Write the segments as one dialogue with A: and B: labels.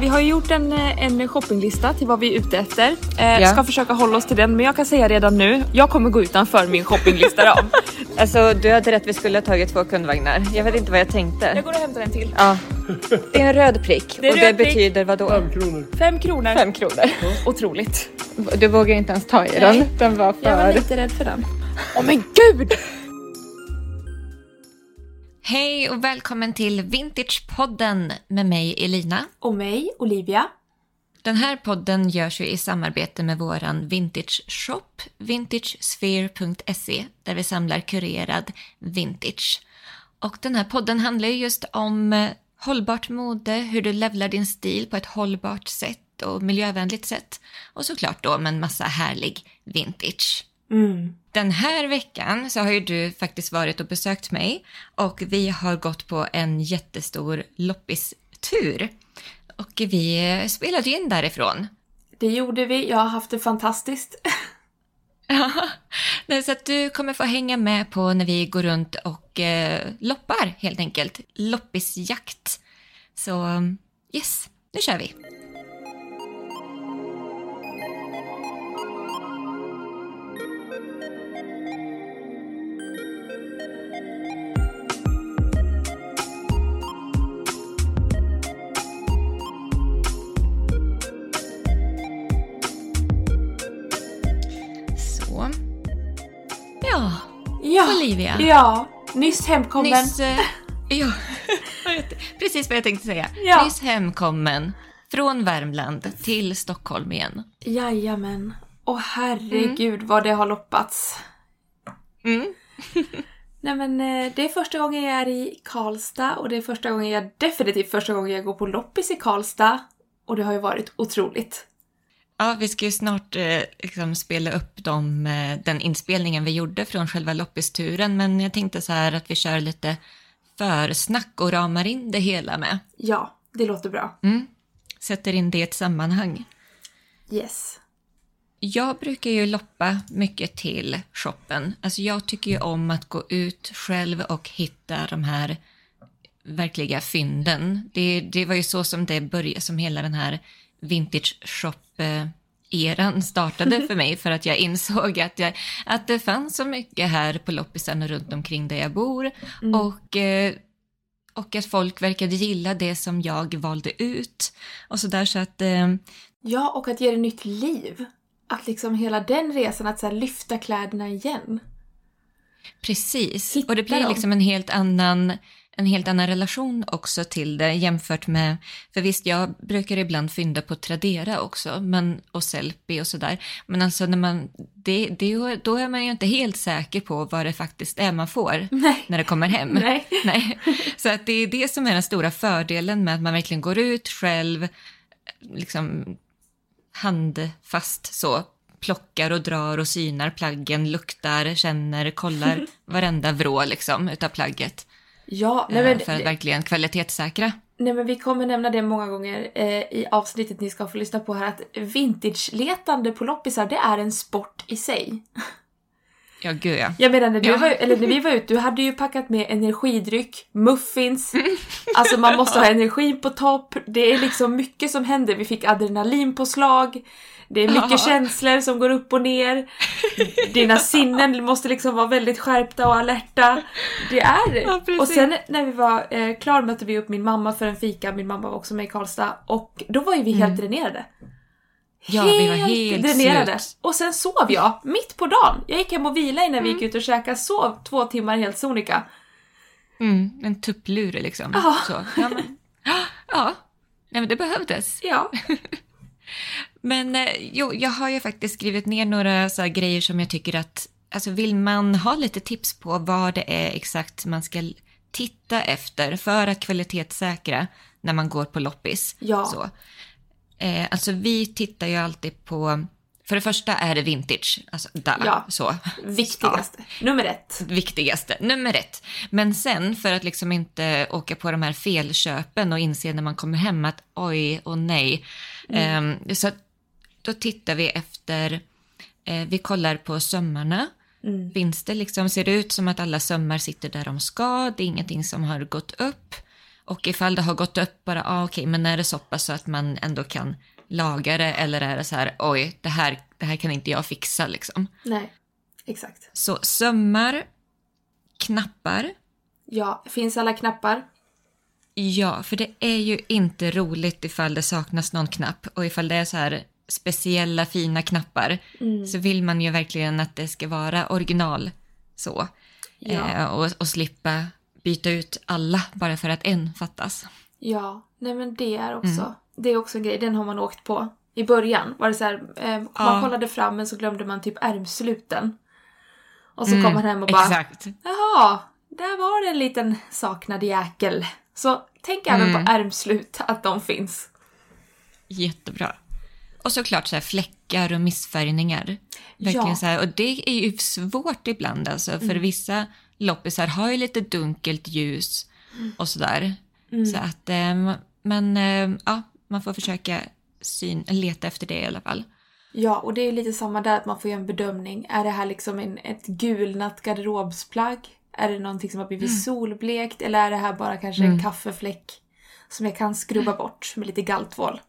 A: Vi har ju gjort en, eh, en shoppinglista till vad vi är ute efter. Eh,
B: Ja.
A: Ska försöka hålla oss till den men jag kan säga redan nu, jag kommer gå utanför min shoppinglista ram.
B: Alltså du hade rätt, vi skulle ha tagit två kundvagnar. Jag vet inte vad jag tänkte.
A: Jag går och hämtar en till.
B: Ja. Det är en röd prick
A: är
B: och
A: röd
B: det
A: prick.
B: betyder vad då?
C: kronor.
A: Fem kronor.
B: Fem kronor.
A: Otroligt.
B: Du vågar inte ens ta i
A: Nej.
B: den. Den var för...
A: lite rädd för den. Åh men gud!
D: Hej och välkommen till Vintagepodden med mig Elina.
E: Och mig, Olivia.
D: Den här podden görs ju i samarbete med våran vintage-shop vintagesphere.se där vi samlar kurerad vintage. Och den här podden handlar ju just om eh, hållbart mode, hur du levlar din stil på ett hållbart sätt och miljövänligt sätt och såklart då med en massa härlig vintage.
E: Mm.
D: Den här veckan så har ju du faktiskt varit och besökt mig och vi har gått på en jättestor loppistur. Och vi eh, spelade ju in därifrån.
E: Det gjorde vi. Jag har haft det fantastiskt.
D: Nej, Så att du kommer få hänga med på när vi går runt och eh, loppar helt enkelt. Loppisjakt. Så um, yes, nu kör vi. Så. Ja,
E: Ja.
D: Olivia.
E: Ja. Nyss hemkommen.
D: Nyss, eh, ja, vad heter- precis vad jag tänkte säga.
E: Ja.
D: Nyss hemkommen från Värmland till Stockholm igen.
E: Jajamän. Och herregud vad det har loppats.
D: Mm.
E: Nej men eh, det är första gången jag är i Karlstad och det är första gången jag, definitivt första gången jag går på loppis i Karlstad. Och det har ju varit otroligt.
D: Ja, vi ska ju snart eh, liksom spela upp de, eh, den inspelningen vi gjorde från själva loppisturen, men jag tänkte så här att vi kör lite försnack och ramar in det hela med.
E: Ja, det låter bra.
D: Mm. Sätter in det i ett sammanhang.
E: Yes.
D: Jag brukar ju loppa mycket till shoppen. Alltså jag tycker ju om att gå ut själv och hitta de här verkliga fynden. Det, det var ju så som det började, som hela den här vintage shop-eran startade för mig, för att jag insåg att, jag, att det fanns så mycket här på loppisen och runt omkring där jag bor. Och, eh, och att folk verkade gilla det som jag valde ut. Och så där så att... Eh,
E: Ja, och att ge det nytt liv. Att liksom hela den resan, att så här lyfta kläderna igen.
D: Precis,
E: Hitta
D: och det blir
E: dem.
D: liksom en helt annan en helt annan relation också till det jämfört med, för visst jag brukar ibland fynda på Tradera också men, och Sellpy och sådär, men alltså när man, det, det, då är man ju inte helt säker på vad det faktiskt är man får
E: Nej.
D: när det kommer hem.
E: Nej.
D: Nej. Så att det är det som är den stora fördelen med att man verkligen går ut själv, liksom handfast så, plockar och drar och synar plaggen, luktar, känner, kollar varenda vrå liksom utav plagget.
E: Ja, nej
D: eh,
E: men
D: för att verkligen kvalitetssäkra.
E: Nej men vi kommer nämna det många gånger eh, i avsnittet ni ska få lyssna på här att vintage-letande på loppisar det är en sport i sig.
D: Ja, gud ja.
E: Jag menar när, du
D: Ja.
E: var, eller när vi var ute, du hade ju packat med energidryck, muffins, alltså man måste ha energi på topp, det är liksom mycket som händer. Vi fick adrenalin på slag, det är mycket
D: Ja.
E: känslor som går upp och ner, dina sinnen måste liksom vara väldigt skärpta och alerta. Det är det.
D: Ja, precis.
E: och sen när vi var eh, klar mötte vi upp min mamma för en fika, min mamma var också med i Karlstad och då var ju vi
D: Mm.
E: helt dränerade.
D: Ja, vi var helt
E: dränerade.
D: slut.
E: Och sen sov jag mitt på dagen. Jag gick hem och vilade innan vi gick ut och käkade, sov två timmar helt sonika.
D: Mm, en tupplur liksom.
E: Ja.
D: Så. Ja, men, ja. Nej, men det behövdes.
E: Ja.
D: Men eh, jo, jag har ju faktiskt skrivit ner några så här grejer som jag tycker att, alltså vill man ha lite tips på vad det är exakt man ska l- titta efter för att kvalitetssäkra när man går på loppis.
E: Ja.
D: Så. Eh, alltså vi tittar ju alltid på, för det första är det vintage, alltså där,
E: Ja.
D: så
E: Viktigaste. Nummer ett.
D: viktigaste, nummer ett. Men sen för att liksom inte åka på de här felköpen och inse när man kommer hem att oj och nej. Ehm, så att då tittar vi efter, eh, vi kollar på sömmarna. Finns det liksom, ser det ut som att alla sömmar sitter där de ska? Det är ingenting som har gått upp. Och ifall det har gått upp, bara ah, okej, men är det så pass så att man ändå kan laga det eller är det så här, oj, det här, det här kan inte jag fixa liksom.
E: Nej, exakt.
D: Så sömmar, knappar,
E: Ja, finns alla knappar?
D: Ja, för det är ju inte roligt ifall det saknas någon knapp och ifall det är så här speciella fina knappar så vill man ju verkligen att det ska vara original så.
E: Ja.
D: Eh, och, och slippa byta ut alla bara för att en fattas.
E: Ja, nej men det
D: Mm.
E: är också. Det är också en grej, den har man åkt på. I början var det så här, eh, man kollade fram men så glömde man typ ärmsluten. Och
D: Mm.
E: så kom man hem och bara,
D: Exakt.
E: jaha, där var det en liten saknad jäkel. Så tänk även på ärmslut, att de finns.
D: Jättebra. Och såklart så här fläckar och missfärgningar. Verkligen
E: Ja. Mm.
D: så här, och det är ju svårt ibland alltså, för vissa loppisar har ju lite dunkelt ljus och sådär.
E: Mm.
D: Så att, ehm, men ehm, ja, man får försöka syn, leta efter det i alla fall.
E: Ja, och det är ju lite samma där att man får göra en bedömning. Är det här liksom en, ett gulnat garderobsplagg? Är det någonting som har blivit solblekt? Eller är det här bara kanske en kaffefläck som jag kan skrubba bort med lite galtvål?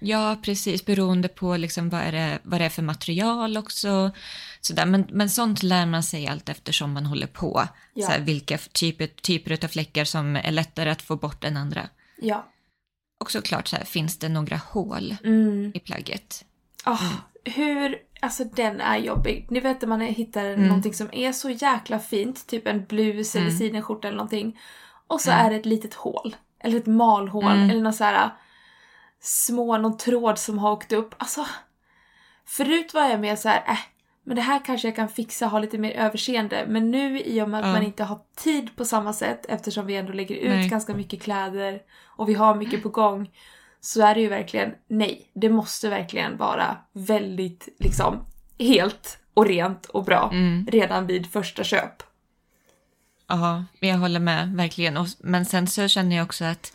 D: Ja, precis. Beroende på liksom vad, är det, vad det är för material också. Sådär. Men, men sånt lär man sig allt eftersom man håller på.
E: Ja.
D: Såhär, vilka f- typer, typer av fläckar som är lättare att få bort än andra.
E: Ja.
D: Och såklart så här, finns det några hål
E: Mm.
D: i plagget.
E: Ah, Hur... Alltså den är jobbig. Ni vet när man hittar någonting som är så jäkla fint, typ en blus eller sidenskjorta eller någonting. Och
D: Mm.
E: så är det ett litet hål. Eller ett malhål. Eller någon så här äh, små, någon tråd som har åkt upp. Alltså, förut var jag mer så här, äh, men det här kanske jag kan fixa, ha lite mer överseende. Men nu i och med att
D: Ja.
E: man inte har tid på samma sätt eftersom vi ändå lägger ut
D: Nej.
E: ganska mycket kläder och vi har mycket på gång så är det ju verkligen nej. Det måste verkligen vara väldigt liksom helt och rent och bra
D: Mm.
E: redan vid första köp.
D: Ja, men jag håller med, verkligen. Och, men sen så känner jag också att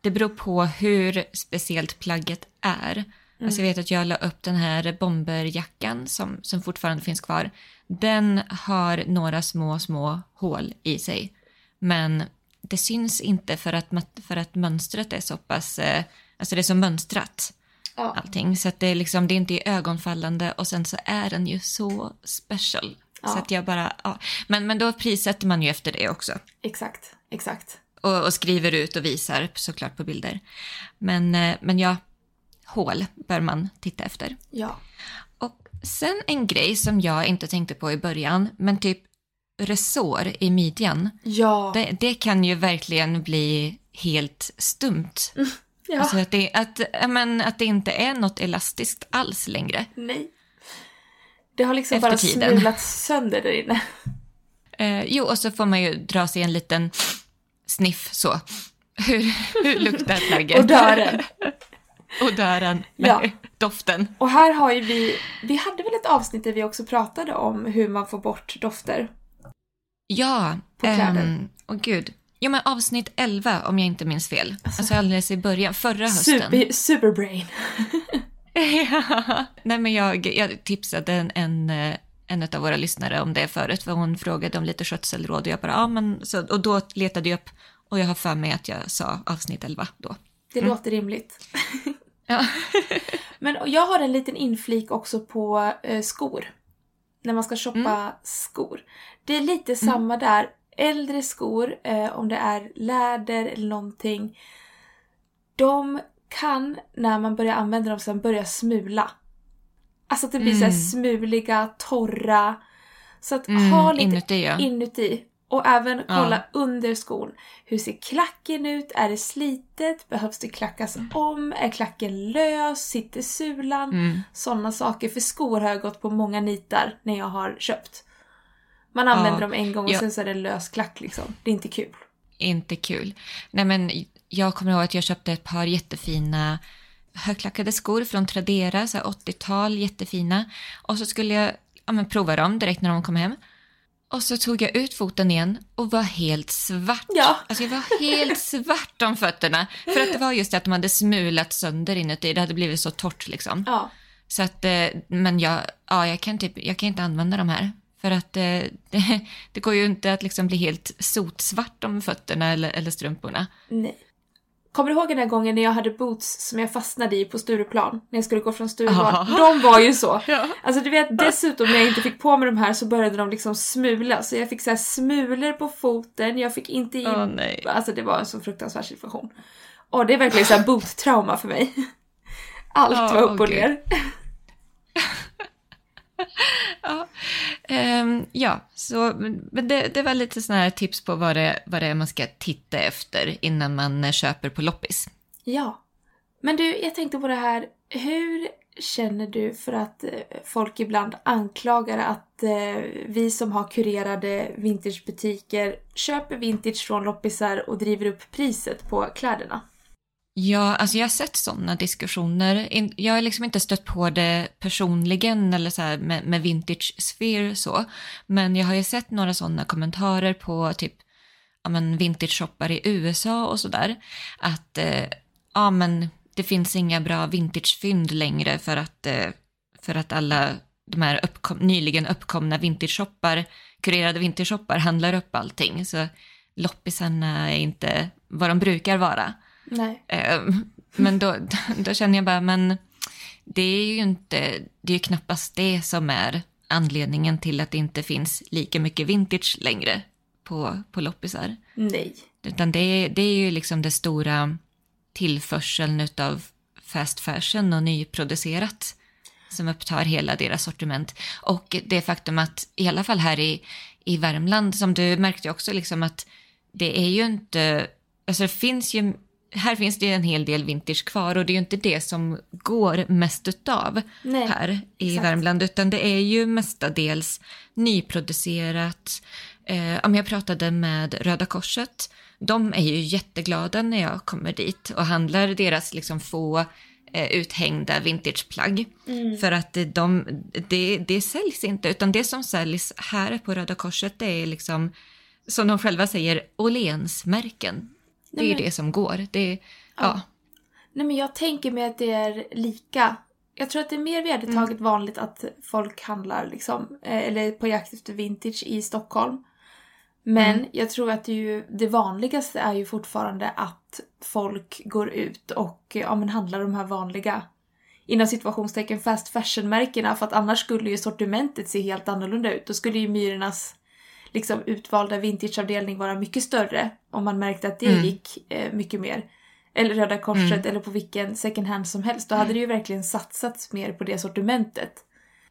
D: det beror på hur speciellt plagget är. Alltså jag vet att jag la upp den här bomberjackan som, som fortfarande finns kvar. Den har några små, små hål i sig. Men det syns inte för att, mat- för att mönstret är så pass, eh, alltså det är så mönstrat.
E: Ja.
D: allting. Så att det är liksom, det är inte ögonfallande och sen så är den ju så special. Så att jag bara, ja. men, men då prissätter man ju efter det också.
E: Exakt, exakt.
D: Och, och skriver ut och visar såklart på bilder. Men, eh, men ja, hål bör man titta efter.
E: Ja.
D: Och sen en grej som jag inte tänkte på i början, men typ resår i midjan.
E: Ja.
D: Det, det kan ju verkligen bli helt stumt.
E: ja.
D: Alltså att det, att, ja, men, att det inte är något elastiskt alls längre.
E: nej. Det har liksom
D: Efter
E: bara
D: tiden.
E: smulat sönder där inne.
D: Eh, jo, och så får man ju dra sig en liten sniff så. Hur, hur luktar plagget?
E: Och dörren.
D: Och dörren.
E: Ja.
D: Nej, Doften.
E: Och här har ju vi, vi hade väl ett avsnitt där vi också pratade om hur man får bort dofter.
D: Ja.
E: På kläder.
D: ehm, Åh gud. Jo, men avsnitt 11 om jag inte minns fel. Alltså, alldeles i början, förra hösten.
E: Super, superbrain.
D: Ja. Nej, men jag, jag tipsade en, en, eh, en av våra lyssnare om det förut, för hon frågade om lite skötselråd och jag bara, ja men, så, och då letade jag upp och jag har för mig att jag sa avsnitt 11 då.
E: Det låter rimligt.
D: Mm. Ja.
E: Men och jag har en liten inflik också på eh, skor. När man ska shoppa
D: Mm.
E: skor. Det är lite samma där. Äldre skor, eh, om det är läder eller någonting. De kan, när man börjar använda dem, sen börja smula. Alltså att det blir så här smuliga, torra. Så att
D: Mm,
E: ha lite
D: inuti, ja.
E: inuti. Och även kolla under skon. Hur ser klacken ut? Är det slitet? Behövs det klackas
D: Mm.
E: om? Är klacken lös? Sitter sulan?
D: Mm.
E: Sådana saker. För skor har jag gått på många nitar när jag har köpt. Man använder dem en gång och
D: Ja.
E: sen så är det lös klack liksom. Det är inte kul.
D: Inte kul. Nej, men jag kommer ihåg att jag köpte ett par jättefina högklackade skor från Tradera, så här 80-tal, jättefina. Och så skulle jag ja, men prova dem direkt när de kom hem. Och så tog jag ut foten igen och var helt svart.
E: Ja.
D: Alltså jag var helt svart om fötterna. För att det var just det att de hade smulat sönder inuti. Det hade blivit så torrt liksom.
E: Ja.
D: Så att, eh, men jag, ja, jag, kan typ, jag kan inte använda de här. För att eh, det, det går ju inte att liksom bli helt sotsvart om fötterna eller, eller strumporna.
E: Nej. Kommer du ihåg den där gången när jag hade boots som jag fastnade i på Stureplan? När jag skulle gå från Stureplan.
D: Ja.
E: De var ju så!
D: Ja.
E: Alltså du vet, dessutom när jag inte fick på mig de här så började de liksom smula. Så jag fick så här smulor på foten, jag fick inte in...
D: Åh nej.
E: Alltså det var en så fruktansvärd situation. Och det är verkligen så här boot-trauma för mig. Allt
D: Ja,
E: var upp
D: åh
E: och
D: gud.
E: ner.
D: Ehm, ja, så, men men det, det var lite sådana här tips på vad det, vad det är man ska titta efter innan man eh, köper på loppis.
E: Ja. Men du, jag tänkte på det här. Hur känner du för att eh, folk ibland anklagar att eh, vi som har kurerade vintagebutiker köper vintage från loppisar och driver upp priset på kläderna?
D: Ja, alltså jag har sett sådana diskussioner. In- Jag har liksom inte stött på det personligen eller så här med, med vintage sphere så. Men jag har ju sett några sådana kommentarer på typ ja, men vintage shoppar i USA och sådär. Att eh, ja, men det finns inga bra vintagefynd längre för att, eh, för att alla de här uppkom- nyligen uppkomna vintageshoppar, kurerade vintageshoppar handlar upp allting. Så loppisarna är inte vad de brukar vara.
E: Nej.
D: Eh, Men då, då känner jag bara, men det är ju inte, det är ju knappast det som är anledningen till att det inte finns lika mycket vintage längre på, på loppisar.
E: Nej.
D: Utan det, är- det är ju liksom det stora tillförseln utav fast fashion och nyproducerat som upptar hela deras sortiment. Och det faktum att, i alla fall här i, i Värmland, som du märkte också, liksom att det är ju inte, alltså det finns ju, här finns det ju en hel del vintage kvar och det är ju inte det som går mest utav
E: Nej,
D: här i
E: exakt.
D: Värmland, utan det är ju mestadels nyproducerat. Eh, om jag pratade med Röda Korset, de är ju jätteglada när jag kommer dit och handlar deras liksom få eh, uthängda vintageplagg.
E: Mm.
D: För att eh, de, det, det säljs inte, utan det som säljs här på Röda Korset det är liksom, som de själva säger, Åhlénsmärken. Det är ju
E: men-
D: det som går. Det, ja. Ja.
E: Nej men jag tänker mig att det är lika. Jag tror att det är mer vedertaget vanligt att folk handlar liksom, eh, eller på jakt efter vintage i Stockholm. Men jag tror att det, är ju, det vanligaste är ju fortfarande att folk går ut och eh, ja, men handlar de här vanliga, inom situationstecken fast fashion-märkena för att annars skulle ju sortimentet se helt annorlunda ut. Då skulle ju Myrornas liksom, utvalda vintageavdelning vara mycket större om man märkte att det
D: Mm.
E: gick eh, mycket mer. Eller Röda Korset eller på vilken second hand som helst. Då
D: Mm.
E: hade det ju verkligen satsats mer på det sortimentet.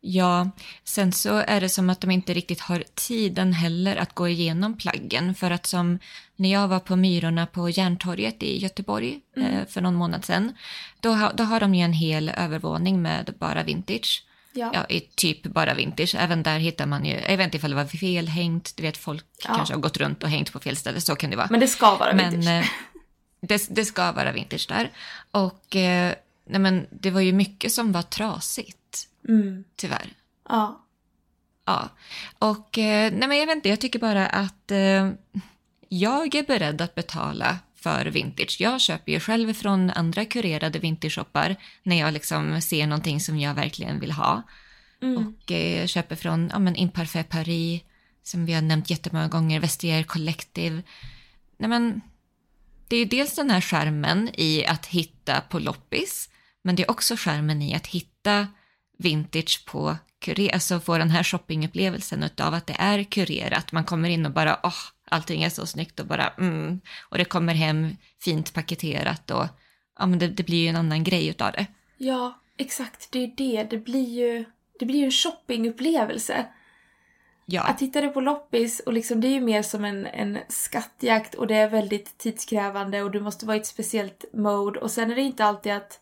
D: Ja, sen så är det som att de inte riktigt har tiden heller att gå igenom plaggen. För att som när jag var på Myrorna på Järntorget i Göteborg
E: Mm.
D: eh, för någon månad sedan, då, ha, då har de ju en hel övervåning med bara vintage.
E: Ja.
D: Ja, i typ bara vintage. Även där hittar man ju, jag vet inte ifall det var felhängt, du vet folk
E: Ja.
D: kanske har gått runt och hängt på fel ställe, så kan det vara.
E: Men det ska vara
D: Men,
E: vintage.
D: eh, det, det ska vara vintage där. Och eh, nej men, det var ju mycket som var trasigt,
E: Mm.
D: tyvärr.
E: Ja.
D: Ja, och eh, nej men jag vet inte, jag tycker bara att eh, jag är beredd att betala för vintage. Jag köper ju själv från andra kurerade vintageshoppar när jag liksom ser någonting som jag verkligen vill ha.
E: Mm.
D: Och eh, jag köper från ja, men Imparfait Paris, som vi har nämnt jättemånga gånger, Vestiaire Collective. Nej men, det är ju dels den här skärmen i att hitta på loppis, men det är också skärmen i att hitta vintage på kurer, alltså få den här shoppingupplevelsen utav att det är kurerat. Man kommer in och bara, åh, allting är så snyggt och bara, mm. Och det kommer hem fint paketerat och ja, men det, det blir ju en annan grej utav det.
E: Ja, exakt. Det är ju det. Det blir ju, det blir ju en shoppingupplevelse.
D: Ja.
E: Att hitta det på loppis, och liksom, det är ju mer som en, en skattjakt och det är väldigt tidskrävande och du måste vara i ett speciellt mode. Och sen är det inte alltid att...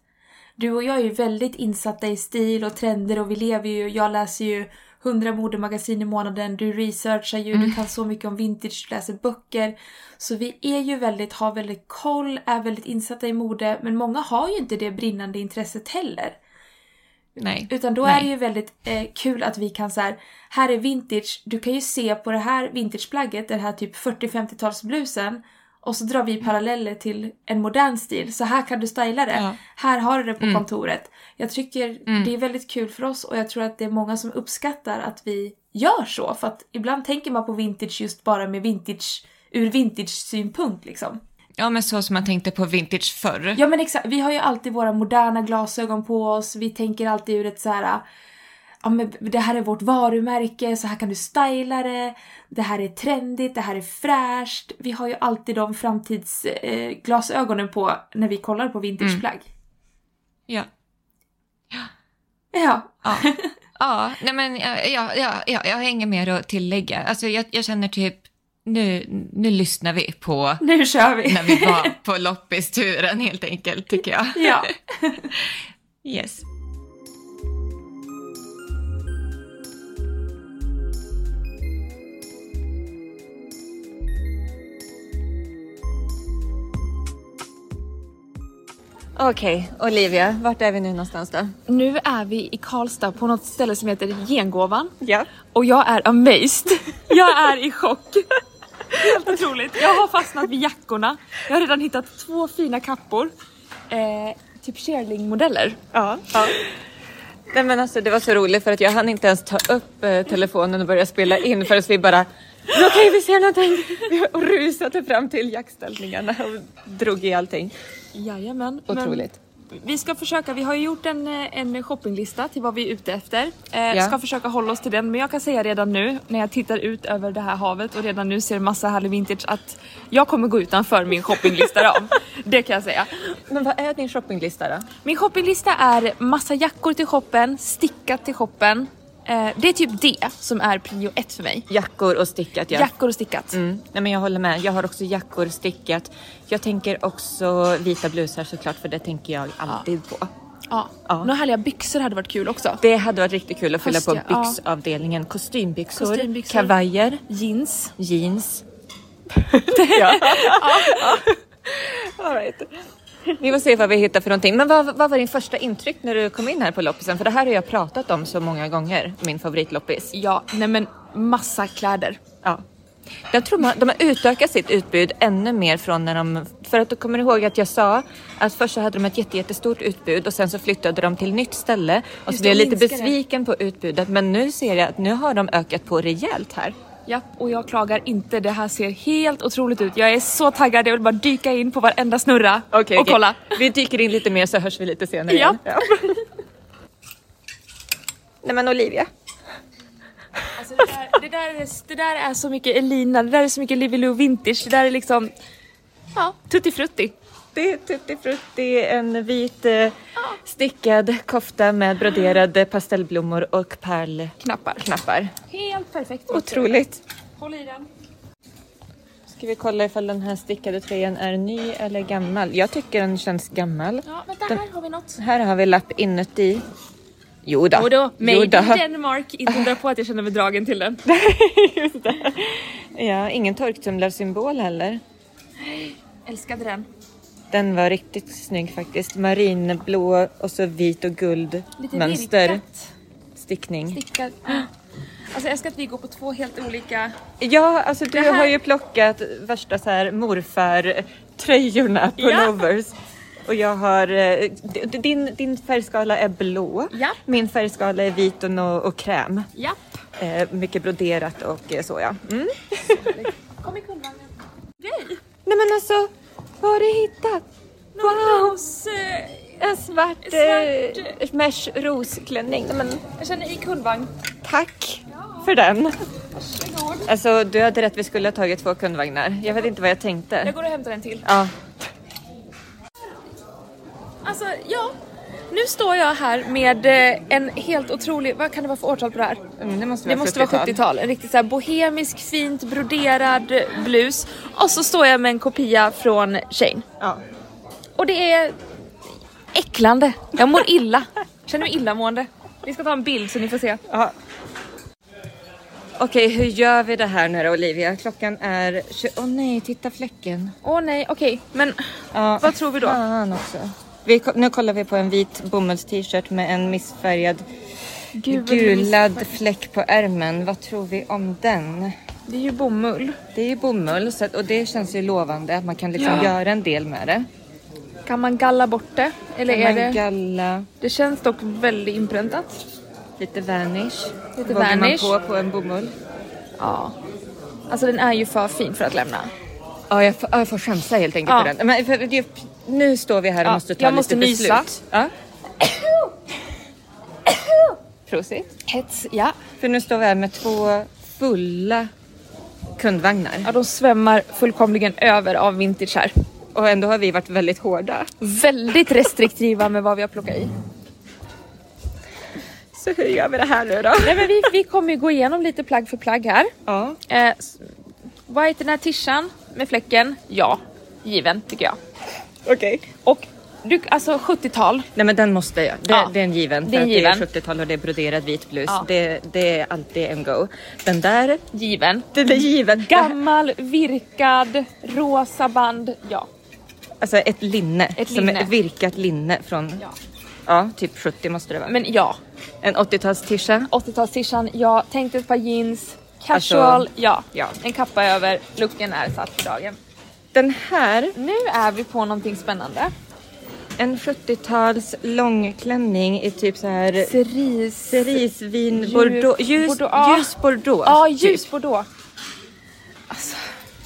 E: Du och jag är ju väldigt insatta i stil och trender och vi lever ju... Jag läser ju hundra modemagasin i månaden, du researchar ju, du kan så mycket om vintage, du läser böcker. Så vi är ju väldigt, har väldigt koll, är väldigt insatta i mode, men många har ju inte det brinnande intresset heller.
D: Nej.
E: Utan då
D: Nej.
E: är det ju väldigt eh, kul att vi kan så här, här är vintage, du kan ju se på det här vintageplagget, den här typ 40-50-talsblusen
F: Och så drar vi paralleller till en modern stil. Så här kan du styla det.
G: Ja.
F: Här har du det på
D: Mm.
F: kontoret. Jag tycker det är väldigt kul för oss och jag tror att det är många som uppskattar att vi gör så. För att ibland tänker man på vintage just bara med vintage, ur vintage-synpunkt liksom.
G: Ja, men så som man tänkte på vintage förr.
F: Ja men exakt, vi har ju alltid våra moderna glasögon på oss, vi tänker alltid ur ett så här. Ja men det här är vårt varumärke, så här kan du styla det, det här är trendigt, det här är fräscht. Vi har ju alltid de framtidsglasögonen eh, glasögonen på när vi kollar på vintageplagg.
G: Ja.
E: Mm.
F: Ja,
G: Ja, ja nej men jag, jag, jag, jag, jag har inget mer att tillägga. Alltså jag, jag känner typ, nu, nu lyssnar vi på
F: nu kör vi!
G: när vi var på loppisturen helt enkelt tycker jag.
F: ja.
G: Yes.
D: Okej, Olivia, vart är vi nu någonstans då?
E: Nu är vi i Karlstad på något ställe som heter Gengåvan
D: Ja.
E: och jag är amazed. Jag är i chock. Helt otroligt. Jag har fastnat vid jackorna. Jag har redan hittat två fina kappor. Eh, typ cheerleading-modeller.
D: Ja. ja. Nej men alltså det var så roligt för att jag hann inte ens ta upp eh, telefonen och börja spela in förrän vi bara Okej vi ser någonting! Och rusade fram till jaktställningarna och drog i allting.
E: Jajamän. men-
D: Otroligt.
E: Vi ska försöka, vi har ju gjort en, eh, en shoppinglista till vad vi är ute efter. Eh,
D: Ja.
E: Ska försöka hålla oss till den men jag kan säga redan nu när jag tittar ut över det här havet och redan nu ser massa härlig vintage att jag kommer gå utanför min shoppinglista då. Det kan jag säga.
D: Men vad är din shoppinglista då?
E: Min shoppinglista är massa jackor till shoppen, stickat till shoppen. Eh, det är typ det som är prio ett för mig.
D: Jackor och stickat ja.
E: Jackor och stickat.
D: Mm. Nej men jag håller med. Jag har också jackor stickat. Jag tänker också vita blusar såklart för det tänker jag alltid på.
E: Ja.
D: Ja.
E: Några härliga byxor hade varit kul också.
D: Det hade varit riktigt kul att fylla på
E: Höst, ja.
D: byxavdelningen. Kostymbyxor,
E: Kostymbyxor.
D: kavajer,
E: Jeans.
D: jeans. ja. All right. Vi får se vad vi hittar för någonting. Men vad, vad var din första intryck när du kom in här på loppisen? För det här har jag pratat om så många gånger, min favoritloppis.
E: Ja, nej men massa kläder.
D: Ja. Jag tror man, de har utökat sitt utbud ännu mer från när de... För att du kommer ihåg att jag sa att först så hade de ett jätte, jättestort utbud och sen så flyttade de till nytt ställe och
E: Just
D: så
E: det,
D: blev jag
E: och
D: lite
E: minskade.
D: besviken på utbudet men nu ser jag att nu har de ökat på rejält här.
E: Ja, och jag klagar inte. Det här ser helt otroligt ut. Jag är så taggad. Jag vill bara dyka in på varenda snurra och kolla.
D: Vi dyker in lite mer så hörs vi lite
E: Ja.
D: senare igen. Nej men Olivia.
E: Alltså det, där, det, där är, det där är så mycket Elina, det där är så mycket Livy Lou Vintage. Det där är liksom... Ja, tutti frutti.
D: Det är Tutti Frutti, en vit eh, stickad kofta med broderade pastellblommor och pärlknappar.
E: Knappar. Helt perfekt.
D: Otroligt.
E: Håll i den.
D: Ska vi kolla ifall den här stickade tröjan är ny eller gammal? Jag tycker den känns gammal.
E: Ja, vänta, här har vi något.
D: Här har vi lapp inuti. Jo då.
E: Och då, made
D: Jo
E: in
D: då.
E: Denmark. Inte undra på att jag känner mig dragen till den.
D: Ja, ingen torktumlarsymbol heller.
E: Älskade den.
D: Den var riktigt snygg faktiskt. Marinblå och så vit och guld
E: Lite
D: mönster.
E: virkat.
D: Stickning.
E: Stickat. ja. Alltså jag älskar att vi går på två helt olika...
D: Ja, alltså du
E: här-
D: har ju plockat värsta så här morfar-tröjorna, pullovers. Och jag har, eh, d- din, din färgskala är blå,
E: Ja.
D: min färgskala är vit och, nå- och kräm.
E: Japp.
D: Eh, mycket broderat och eh, så ja. Mm.
E: Kom i kundvagnen.
D: Nej men alltså, vad har du hittat? Wow!
E: Hos... Eh,
D: En svart, Eh,
E: Svart.
D: mesh rosklänning. Nej, men
E: jag känner i kundvagn.
D: tack för den. Alltså du hade rätt, vi skulle ha tagit två kundvagnar. Jag vet inte vad jag tänkte.
E: Jag går och hämtar en till.
D: Ja,
E: Alltså, ja. Nu står jag här med eh, en helt otrolig, vad kan det vara för årtal på det här?
D: mm, det måste
E: Det måste vara 70-tal. En riktigt så här bohemisk, fint broderad eh, blus. Och så står jag med en kopia från Shane.
D: Ja.
E: Och det är äcklande. Jag mår illa. Känner mig illamående. Vi ska ta en bild så ni får se.
D: Ja. Okej, hur gör vi det här nu då Olivia? Klockan är... tjugo- Åh nej, titta fläcken.
E: Åh nej, okej. Men
D: Ja.
E: vad tror vi då?
D: Fan också. Vi, ko- nu kollar vi på en vit bomullst-t-shirt med en missfärgad
E: Gud, vad
D: gulad fläck på ärmen. Vad tror vi om den?
E: Det är ju bomull.
D: Det är ju bomull så att, och det känns ju lovande att man kan liksom göra en del med det.
E: Kan man galla bort det? Eller
D: Kan
E: är
D: man
E: det...
D: galla,
E: Det känns dock väldigt inpräntat.
D: lite vanish.
E: Lite
D: Vågar
E: vanish.
D: man på på en bomull.
E: Ja. Alltså den är ju för fin för att lämna.
D: Ja, jag får, ja, jag får chansa helt enkelt
E: Ja.
D: på den. Men för, det, nu står vi här och
E: Ja,
D: måste ta
E: jag
D: lite
E: måste
D: beslut.
E: nysa.
D: Ja. Prosit.
E: Hets, ja.
D: För nu står vi här med två fulla kundvagnar
E: Ja, de svämmar fullkomligen över av vintage här.
D: och ändå har vi varit väldigt hårda.
E: Väldigt restriktiva med vad vi har plockat i.
D: Så hur gör vi det här nu då?
E: Nej, men vi, vi kommer ju gå igenom lite plagg för plagg här.
D: Ja,
E: Eh, s- white den här tishan med fläcken, ja. Given tycker jag.
D: okej.
E: Och du, alltså 70-tal.
D: Nej men den måste jag. Det,
E: Ja.
D: det är en given.
E: Det är en
D: för att
E: given.
D: Det är 70-tal och det är broderad vit blus.
E: Ja.
D: Det, det är alltid en go. Den där,
E: Given.
D: den är given.
E: Gammal, virkad, rosa band, ja.
D: Alltså ett linne.
E: Ett
D: som
E: linne.
D: Ett virkat linne från
E: Ja.
D: ja. typ 70 måste det vara.
E: Men ja,
D: En 80-tals tisha.
E: 80-talstishan, ja. Tänkte ett par jeans. Casual,
D: Alltså,
E: ja.
D: ja.
E: En kappa över, looken är satt för dagen.
D: Den här,
E: Nu är vi på någonting spännande.
D: en 70-tals långklänning i typ så här
E: Cerise.
D: cerisvin
E: Ljus-
D: bordeaux. Ljus
E: bordeaux,
D: bordeaux.
E: ja.
D: Ljus bordeaux
E: Ja,
D: typ.
E: ljus Alltså, bordeaux.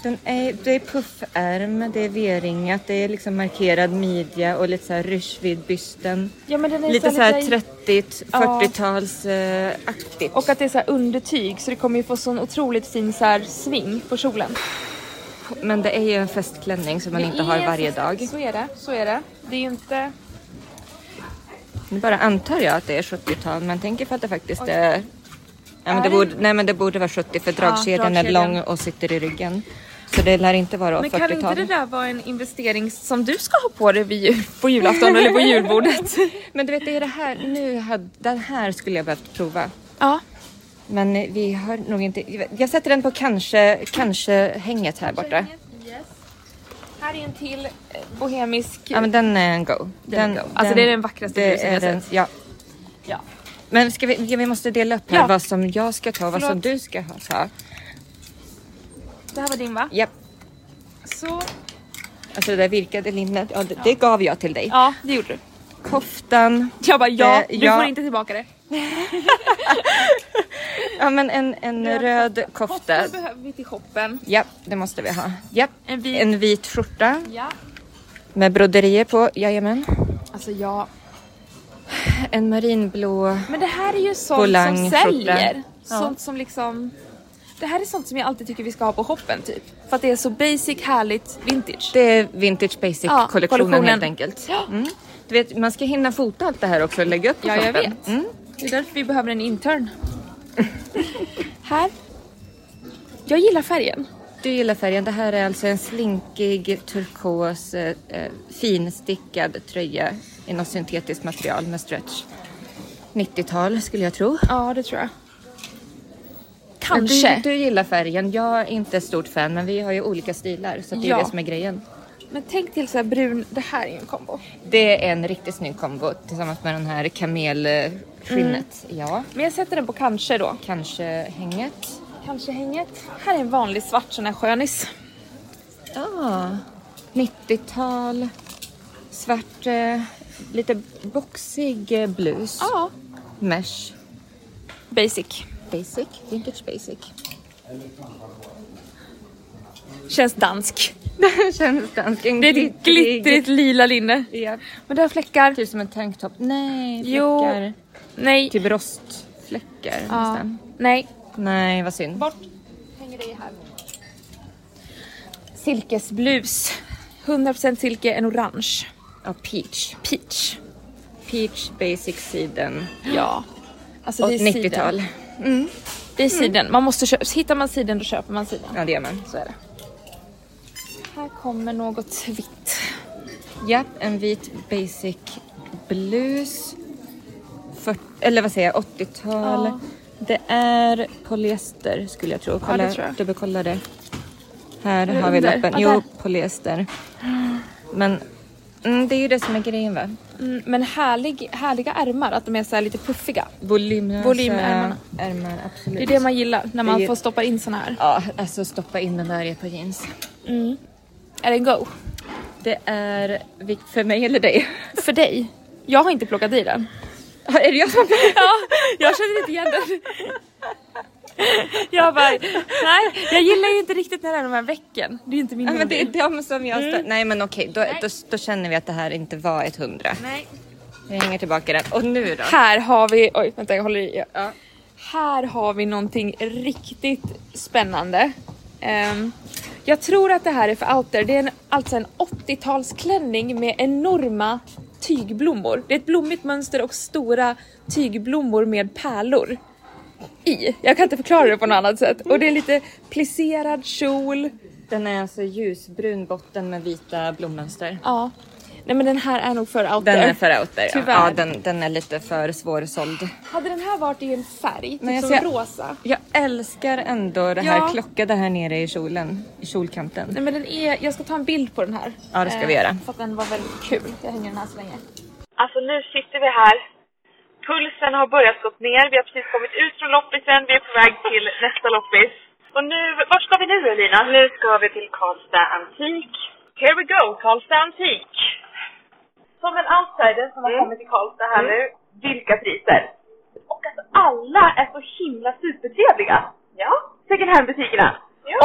D: Den är, det är puffärm, det är V-ringat, det är liksom markerad midja och lite så här rysch vid bysten.
E: Ja, men den är
D: Lite så här 30
E: Ja.
D: 40-tals eh, aktigt.
E: Och att det är så här undertyg så det kommer ju få sån otroligt fin så här sving på kjolen.
D: Men det är ju en festklänning som man
E: Det
D: inte har
E: är
D: varje
E: så,
D: dag.
E: Så är det, så är det. Det är ju inte...
D: Nu bara antar jag att det är 70-tal men tänker för att det faktiskt är... Ja,
E: Är
D: men det
E: det-
D: borde, nej men det borde vara 70 för dragkedjan är
E: dragkedjan.
D: lång och sitter i ryggen. Så det lär inte vara
E: Men kan inte det
D: 40-tal.
E: där vara en investering som du ska ha på dig vid jul, på julafton eller på julbordet?
D: Men du vet det är det här, nu hade, den här skulle jag behövt prova.
E: ja.
D: Men eh, vi har nog inte... Jag sätter den på kanske, kanske hänget här borta.
E: Yes. Här är en till eh, bohemisk.
D: Ja men den är en go. Den,
E: go. Alltså, det är den vackraste blusen jag
D: är
E: har
D: den- Ja.
E: Ja.
D: Men ska vi, ja, vi måste dela upp här
E: Ja.
D: vad som jag ska ta och vad som
E: Förlåt.
D: du ska ha- ta.
E: Det här var din va?
D: Japp.
E: Så.
D: Alltså det där virkade linnet, ja, det, det gav jag till dig.
E: Ja, det gjorde du.
D: Koftan,
E: Jag bara ja,
D: Eh,
E: du
D: ja.
E: får inte tillbaka det.
D: ja men en, en röd kofta.
E: Koftor behöver vi till shoppen.
D: Ja, det måste vi ha. Ja.
E: En vit.
D: En vit skjorta
E: Ja.
D: med broderier på, jajamän.
E: Alltså ja.
D: En marinblå,
E: Men det här är ju sånt som
D: Volangskjorta.
E: säljer. Sånt som liksom... Det här är sånt som jag alltid tycker vi ska ha på shoppen typ. För att det är så basic, härligt, vintage.
D: det är vintage basic
E: Ja,
D: kollektionen
E: kollektionen.
D: helt enkelt.
E: Ja.
D: Mm. Du vet, man ska hinna fota allt det här också och lägga upp på
E: Ja, jag
D: shoppen.
E: vet.
D: Mm.
E: Det är därför vi behöver en intern. här. Jag gillar färgen.
D: Du gillar färgen. Det här är alltså en slinkig turkos eh, eh, finstickad tröja i något syntetiskt material med stretch. 90-tal skulle jag tro.
E: Ja, det tror jag.
D: Men
E: Kanske.
D: Du, du gillar färgen. Jag är inte ett stort fan men vi har ju olika stilar så det är
E: Ja.
D: ju det som är grejen.
E: Men tänk till så här brun. Det här är ju en kombo.
D: Det är en riktigt snygg kombo tillsammans med den här
E: Mm.
D: kamelskinnet. Ja,
E: Men jag sätter den på kanske då.
D: kanske hänget.
E: Kanske hänget. Här är en vanlig svart sån här skönis.
D: Ja, 90-tal. Svart, eh, lite boxig eh, blus.
E: Ja.
D: Mesh.
E: Basic.
D: Basic, vintage basic.
E: Känns dansk.
D: Den känns dansk. En
E: Det är ett glittrigt lila linne.
D: Ja.
E: Men det har fläckar.
D: Typ som en tanktop. Nej,
E: Jo.
D: fläckar.
E: Nej.
D: Typ rostfläckar
E: Ja.
D: nästan.
E: Nej.
D: Nej, vad synd.
E: Bort. Hänger det i här. Silkesblus. 100% silke, en orange.
D: Ja, peach.
E: Peach.
D: Peach basic siden.
E: Ja. Alltså
D: Och
E: det är siden.
D: 90-tal.
E: Det är siden. Man måste köpa. Hittar man siden då köper man siden.
D: Ja, det gör man.
E: Så är det. Här kommer något vitt.
D: Ja, en vit basic blus. Fyrt- eller vad säger jag, 80-tal.
E: Ja.
D: Det är polyester skulle jag tro. Kolla,
E: det tror jag.
D: Dubbelkolla det. Här
E: det
D: har vi
E: under? Ja,
D: lappen. Jo,
E: där.
D: polyester. Men Mm, det är ju det som är grejen va?
E: Mm, men härlig, härliga ärmar, att de är så här lite puffiga.
D: Volymlösa
E: Volymärmarna.
D: ärmar, absolut.
E: Det är det man gillar när man
D: Det är-
E: får stoppa in såna här.
D: Ja, alltså stoppa in den där i ett par jeans.
E: Är det en go?
D: Det är vikt för mig eller dig?
E: För dig? Jag har inte plockat i den.
D: Ja, Är det jag som
E: Ja, jag känner inte igen den. Jag bara, nej, jag gillar ju inte riktigt när det är de här vecken. Det är ju inte min
D: ja, men Det är
E: mobil.
D: de som jag stör. Mm. Nej men okej, då, då, då känner vi att det här inte var ett hundra.
E: Nej.
D: Vi hänger tillbaka den. Och nu då?
E: Här har vi, oj vänta jag håller i.
D: Ja.
E: Här har vi någonting riktigt spännande. Ehm, jag tror att det här är för outer. Det är en, alltså en 80-talsklänning med enorma tygblommor. Det är ett blommigt mönster och stora tygblommor med pärlor i. Jag kan inte förklara det på något annat sätt. Och det är lite plisserad kjol.
D: Den är alltså ljusbrun botten med vita blommönster.
E: Ja. Nej men den här är nog för outer.
D: Den är för outer. Ja.
E: Tyvärr.
D: Ja, den, den är lite för svårsåld.
E: Hade den här varit i en färg, typ
D: Men jag
E: som
D: ser-
E: rosa.
D: Jag älskar ändå det här
E: Ja.
D: klockade här nere i kjolen. I kjolkanten.
E: Nej men den är, jag ska ta en bild på den här. Eh,
D: Ja, det ska vi göra.
E: För att den var väldigt kul. Jag hänger den här så länge.
H: Alltså nu sitter vi här. Pulsen har börjat gå ner. Vi har precis kommit ut från loppisen. Vi är på väg till nästa loppis. Och nu, vart ska vi nu Elina? Nu ska vi till Karlstad Antik. Here we go, Karlstad Antik. Mm. Som en outsider som har kommit till Karlstad här nu. Vilka priser! Och att alla är så himla supertrevliga. Ja. Second hand-butikerna.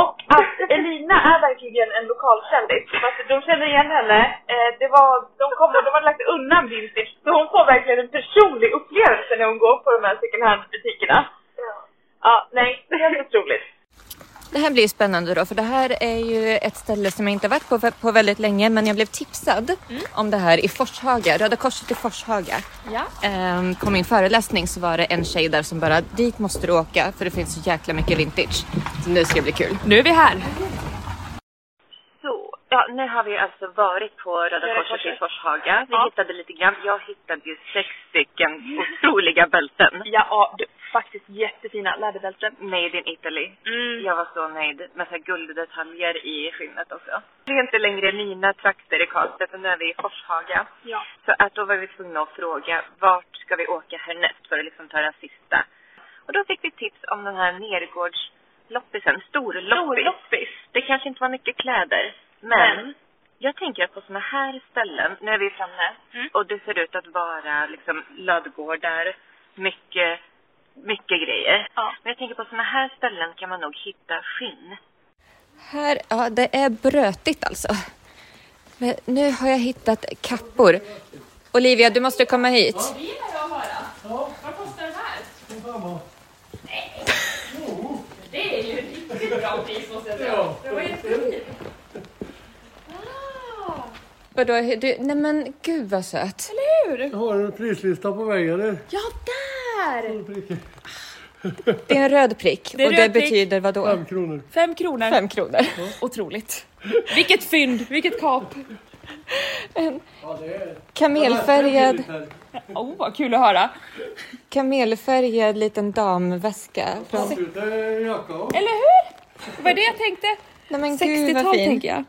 H: Och att Elina är verkligen en lokalkändis. För att de känner igen henne. Eh, det var, de kom och de hade lagt undan vintage. Så hon får verkligen en personlig upplevelse när hon går på de här second hand-butikerna. Ja. ja, nej, det är helt otroligt.
D: Det här blir ju spännande då för det här är ju ett ställe som jag inte har varit på, på väldigt länge men jag blev tipsad om det här i Forshaga, Röda Korset i Forshaga.
E: Mm. Ja.
D: Ehm, på min föreläsning så var det en tjej där som bara dit måste du åka för det finns så jäkla mycket vintage. Så nu ska det bli kul.
E: Nu är vi här.
I: Så, ja, nu har vi alltså varit på Röda Korset i Forshaga. Vi hittade lite grann. Jag hittade ju sex stycken otroliga bälten.
H: Ja, ja du, faktiskt jättefina läderbälten.
I: Made in Italy.
H: Mm.
I: Jag var så nöjd. Med så här gulddetaljer i skinnet också. Det är inte längre mina trakter i Karlstad, för nu är vi i Forshaga.
H: Ja.
I: Så att då var vi tvungna att fråga vart ska vi åka härnäst för att liksom ta den sista. Och då fick vi tips om den här nergårdsloppisen, storloppis.
H: Storloppis.
I: Det kanske inte var mycket kläder, men, jag tänker att på såna här ställen, Mm. nu är vi framme och det ser ut att vara liksom lödgårdar, mycket, mycket grejer.
H: Ja.
I: Men jag tänker på såna här ställen kan man nog hitta skinn.
D: Här, ja det är brötigt alltså. Men nu har jag hittat kappor. Olivia, du måste komma hit. Vadå, du, nej men gud vad söt.
C: Jag har en prislista på väg eller?
E: Ja, där!
D: Det är en röd prick
E: är
D: och
E: röd
D: det
E: prick.
D: betyder vadå?
I: Mm.
C: Fem kronor.
E: Fem kronor.
D: Fem kronor.
E: Otroligt. Vilket fynd, vilket kap.
C: Ja, det är...
D: Kamelfärgad,
E: Åh, oh, vad kul att höra.
D: kamelfärgad liten damväska. Från...
C: jacka och...
E: Eller hur? Det var det jag tänkte.
D: Nej men gud vad
E: 60-tal
D: fin.
E: tänker jag.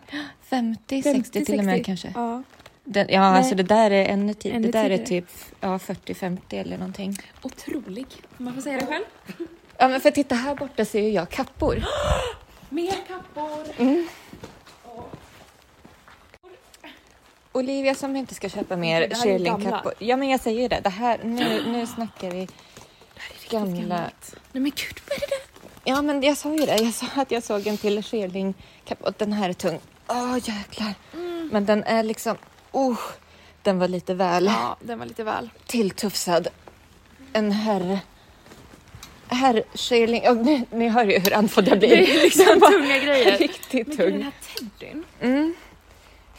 D: 50, 60 till och med
E: 60.
D: kanske. Ja,
E: Ja.
D: den, ja alltså det där är ännu tidigare.
E: Ännu
D: Det där är
E: tidigare.
D: typ ja, 40, 50 eller någonting.
E: Otrolig. Om Man får säga det själv.
D: Ja men för titta här borta ser ju jag kappor.
E: Mer kappor.
D: Olivia som inte ska köpa
E: Det
D: mer
E: här är ju
D: shirlingkappor. Ja men jag säger ju det, det här, nu, nu snackar vi gamla...
E: Nej men gud, vad är det där?
D: Ja men jag sa ju det, jag sa att jag såg en till shirlingkappa och den här är tung. Åh jäklar. Men den är liksom, oh, den var lite väl.
E: Ja, den var lite väl.
D: tilltufsad. En herr... Herrskilling. Ja, ni, ni hör ju hur andfådd jag blir. Det är liksom tunga grejer. Riktigt
E: Den
D: tung.
E: här teddyn.
D: Mm.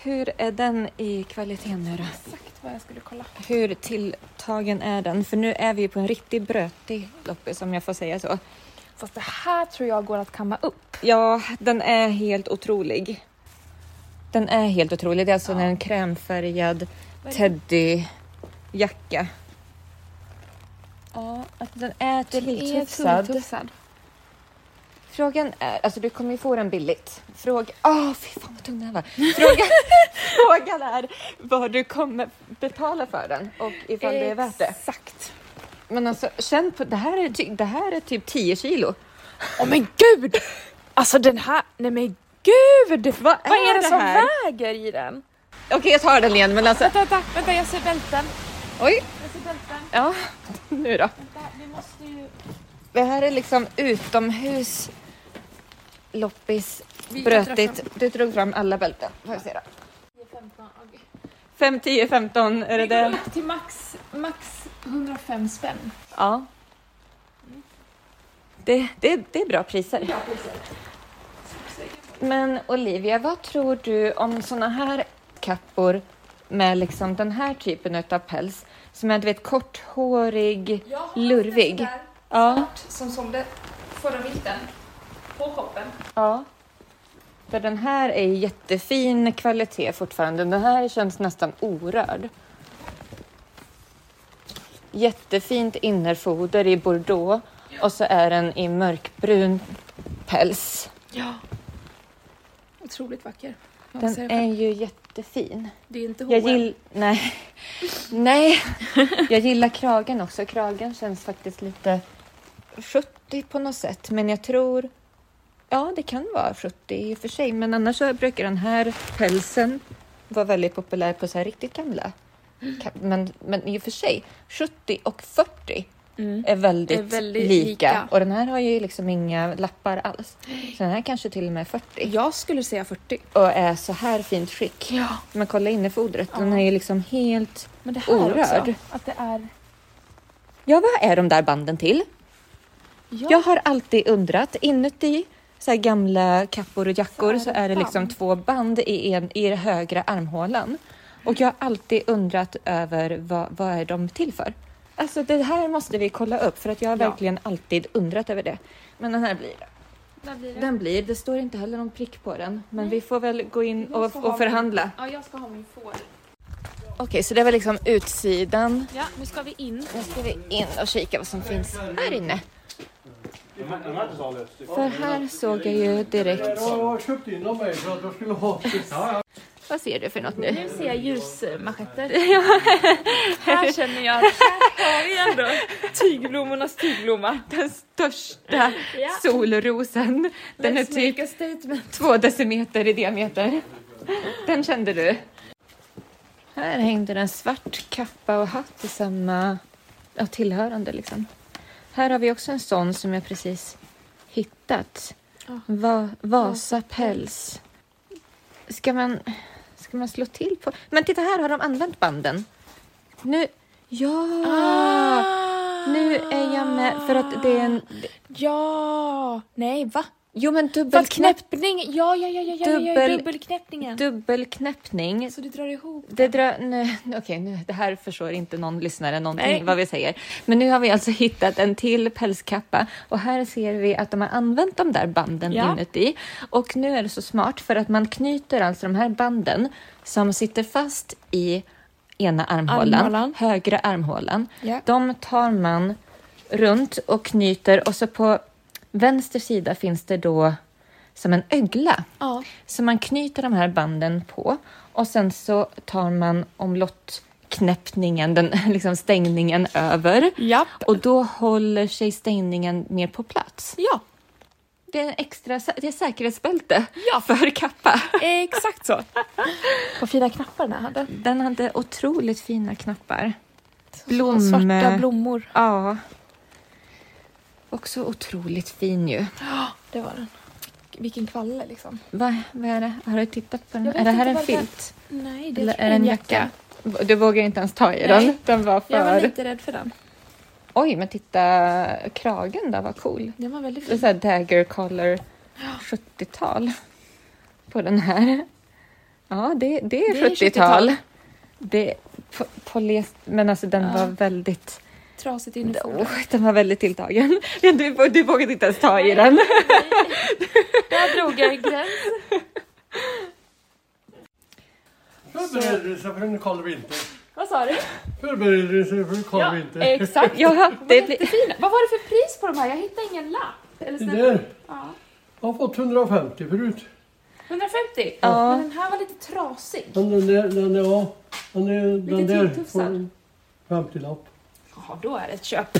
D: Hur är den i kvaliteten nu då?
E: Exakt vad jag skulle kolla.
D: Hur tilltagen är den? För nu är vi ju på en riktigt brötig loppis om jag får säga så.
E: Fast det här tror jag går att kamma upp.
D: Ja, den är helt otrolig. Den är helt otrolig. Det är alltså en krämfärgad teddyjacka. Ja, att den är
E: Den är
D: tilltufsad.
E: tilltufsad.
D: Frågan är, alltså du kommer ju få den billigt. Fråga, åh fy fan vad tung den här var. Frågan, frågan är vad du kommer betala för den och ifall det är värt det.
J: Exakt.
D: Men alltså känn på, det här är, ty- det här är typ 10 kilo.
J: Åh men gud! Alltså den här, nej men gud! Vad är,
D: är
J: det,
D: det
J: som
D: här?
J: väger i den?
D: Okej jag tar den igen men alltså,
J: Vänta, vänta, vänta jag ser bälten.
D: oj,
J: Jag ser bälten.
D: ja nu då.
J: Vänta, vi måste ju...
D: Det här är liksom utomhus, loppis,
J: Vi
D: brötigt. Du drog fram alla bälten. Får jag se då.
J: 15, okej.
D: 5, 10, 15 är det
J: Vi går
D: den?
J: upp till max, max 105 spänn.
D: Ja. Det, det, det är bra priser. Men Olivia, vad tror du om såna här kappor med liksom den här typen av päls? Som är du vet, korthårig, lurvig. Ja,
J: Som sålde förra vintern. På shoppen.
D: ja. För den här är jättefin kvalitet fortfarande. Den här känns nästan orörd. Jättefint innerfoder i bordeaux och så är den i mörkbrun päls.
J: Otroligt vacker. Jag
D: Den
J: ser det själv.
D: är ju jättefin.
J: Det är inte
D: Jag
J: H&M.
D: gill... Nej. Nej. Jag gillar kragen också. Kragen känns faktiskt lite 70 på något sätt, men jag tror... Ja, det kan vara 70 i och för sig, men annars så brukar den här pälsen vara väldigt populär på så här riktigt gamla. Ka- Men, men i och för sig, 70 och 40 är, väldigt
J: Är väldigt
D: lika.
J: lika.
D: Och den här har ju liksom inga lappar alls. Så den här kanske till och med är 40
J: Jag skulle säga 40.
D: och är så här fint skick.
J: Ja.
D: Men kolla innefodret, den är ju liksom helt
J: Men det här
D: orörd.
J: också. Att det är...
D: Ja, vad är de där banden till?
J: Ja.
D: Jag har alltid undrat. Inuti så här gamla kappor och jackor
J: Så är
D: så
J: det
D: är det liksom
J: band.
D: två band i, en, i den högra armhålan. Och jag har alltid undrat över vad, vad är de till för? Alltså det här måste vi kolla upp för att jag har
J: Ja.
D: verkligen alltid undrat över det. Men den här blir det. Den blir, det står inte heller någon prick på den. Men vi får väl gå in
J: Jag
D: och,
J: ska ha
D: och förhandla.
J: Ja, jag ska ha min får.
D: Okej, så det var liksom utsidan.
J: Ja, nu ska vi in.
D: Nu ska vi in och kika vad som finns här inne. För här såg jag ju direkt...
C: Jag har köpt in dem mig för att jag skulle ha...
D: Vad ser du för något nu?
J: Nu ser jag ljusmachetter. här känner jag att här har vi ändå tygblommornas tygblomma.
D: Den största solrosen. Den är
J: Let's
D: typ
J: make a statement.
D: två decimeter i diameter. Den kände du. Här hängde den svart kappa och hatt i samma ja, tillhörande. Liksom. Här har vi också en sån som jag precis hittat.
J: Ah.
D: Va- Vasa päls. Ska man, ska man slå till på... Men titta, här har de använt banden. Nu... Ja! Ah.
J: Ah!
D: Nu är jag med, för att det är en...
J: Ja! Nej, va?
D: Jo, men
J: För att
D: dubbelknäpp,
J: knäppning... Ja, ja, ja, ja, ja, ja, ja
D: Dubbel-
J: dubbelknäppningen.
D: dubbelknäppning
J: Så du drar ihop.
D: Det drar, nu, okej, nu, det här förstår inte någon lyssnare någonting
J: Nej.
D: vad vi säger. Men nu har vi alltså hittat en till pälskappa och här ser vi att de har använt de där banden
J: Ja.
D: inuti. Och nu är det så smart för att man knyter alltså de här banden som sitter fast i ena armhålan,
J: Armhålan.
D: högra armhålan.
J: Ja.
D: De tar man runt och knyter och så på vänster sida finns det då som en ögla.
J: Ja.
D: Så man knyter de här banden på och sen så tar man omlottknäppningen, den liksom stängningen över.
J: Japp.
D: Och då håller sig stängningen mer på plats.
J: Ja,
D: Det är en extra sä- det är säkerhetsbälte
J: Ja.
D: för kappa.
J: exakt så. Vad fina knappar den här hade.
D: Den hade otroligt fina knappar.
J: Och
D: eh,
J: Svarta blommor.
D: Ja. Också otroligt fin ju.
J: Ja, det var den. Vilken kvalle liksom.
D: Va, vad är det? Har du tittat på den?
J: Jag vet
D: Är det här en
J: inte vad det-
D: filt?
J: Nej, det
D: Eller
J: tror jag
D: är det en jacka? Du vågar inte ens ta i den.
J: Nej.
D: Den var för...
J: Jag var lite rädd för den.
D: Oj, men titta kragen där, vad cool.
J: Den var väldigt
D: Det är
J: fin.
D: så här dagger collar 70-tal på den här. Ja, det, det är
J: Det är
D: 70-tal. Det på, polyes- men alltså den
J: Ja.
D: var väldigt
J: Trasigt inifrån.
D: oh, den var väldigt tilltagen. Du, du vågade inte ens ta i den.
J: Där drog jag en gräns.
C: Förberedelse för en kall vinter.
J: Vad sa du?
C: Förberedelse för en kall vinter.
E: eh,
J: Exakt.
D: Ja, det blir,
J: Jättefina. Vad var det för pris på de här? Jag hittade ingen lapp.
C: Det
J: Eller snälla.
C: där.
J: Ja.
C: Jag har fått 150 förut.
E: 150?
D: Ja.
E: Men den här var lite trasig.
C: Men den där, den där, ja. Den, där, den där får
E: tilltufsad.
C: en 50-lapp.
E: Ja, då är det ett köp.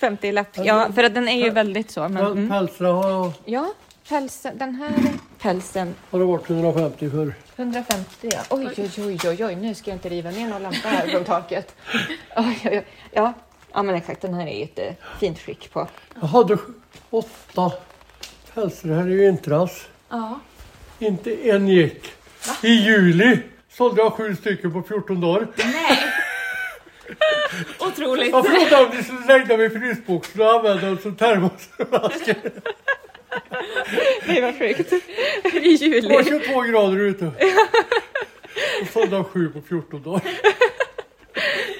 D: 50-lapp. Ja, för att den är ju väldigt så. Men,
C: Men
D: mm.
C: pälsarna har,
D: Ja, pälsen, den här pälsen.
C: har det varit 150 för.
D: 150 ja. Oj, oj, oj, oj, oj, nu ska jag inte riva ner någon lampa här från taket. Oj, oj, oj. Ja. ja, men exakt. Den här är jättefint skick på.
C: Jag hade sj- åtta pälsar här i vintras.
E: Ja.
C: Inte en gick. I juli sålde jag sju stycken på 14 dagar.
E: Otroligt.
C: Jag frågade om ni skulle lägga dem i frysboxen och använda dem som termosflaskor.
D: Det var sjukt. I
C: Det var
D: juli.
C: 22 grader ute. Och sålde jag sju på 14 dagar.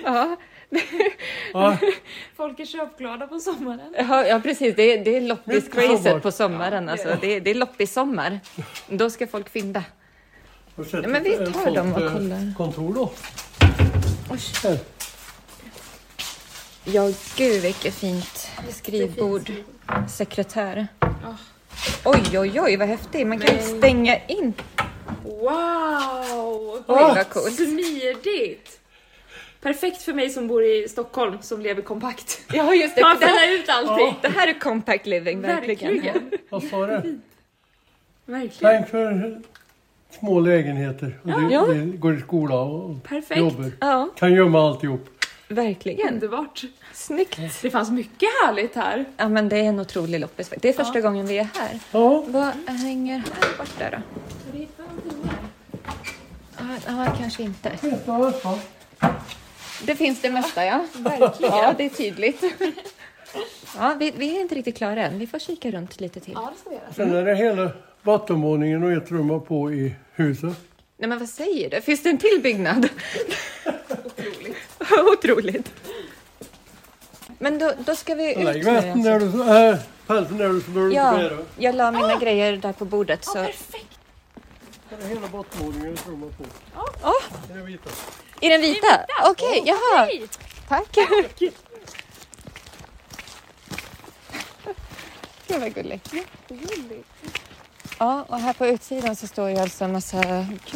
D: Ja,
C: Ja,
E: Folk är köpglada på sommaren.
D: ja, ja precis. Det är, det är
C: sommar.
D: loppiscrazet på sommaren. Alltså. Det är, det är loppissommar. Då ska folk fynda.
C: och sätter
D: men vi
C: ett
D: tar
C: sånt,
D: dem och
C: eh,
D: kollar.
C: Kontor då. Här.
D: Ja, gud vilket fint skrivbord. Sekretär. Oj, oj, oj, vad häftigt. Man kan ju stänga in.
E: Wow!
D: Oj, vad coolt.
E: Smidigt! Perfekt för mig som bor i Stockholm som lever kompakt.
D: Ja, just
E: Man
D: det.
E: bäller ut allting.
D: Det här är compact living, verkligen.
E: Verkligen.
C: Vad sa du?
E: Verkligen.
C: Tänk för små lägenheter. Och du,
D: Ja.
C: du går i skola och
E: Perfekt.
C: jobbar.
D: Ja,
C: Kan gömma alltihop.
D: verkligen.
E: Underbart.
D: Snyggt.
E: Det fanns mycket härligt här.
D: Ja, men det är en otrolig loppis. Det är första gången vi är här.
C: Ja,
D: Vad hänger här borta då? Ja, ja, Ah, kanske inte.
C: vet du vad jag sa?
D: Det finns det mesta, ja. Verkligen. Ja, det är tydligt. Ja, vi, vi är inte riktigt klara än. Vi får kika runt lite till.
C: Sen är det hela bottenvåningen och ett rum på i huset.
D: Nej, men vad säger du? Finns det en till byggnad? Otroligt. Otroligt. Men då, då ska vi ut
C: Lägg
D: nu,
C: västen
D: alltså.
C: där du... Äh, pälsen där du så blir du inte
D: Ja,
C: bära.
D: jag la mina grejer där på bordet. Så.
C: Här är hela bottenvåningen och ett rum på.
D: Åh,
C: Det är det vita.
D: I den vita? Okej, jaha. Tack. Gud vad gulligt. Ja, och här på utsidan så står ju alltså en massa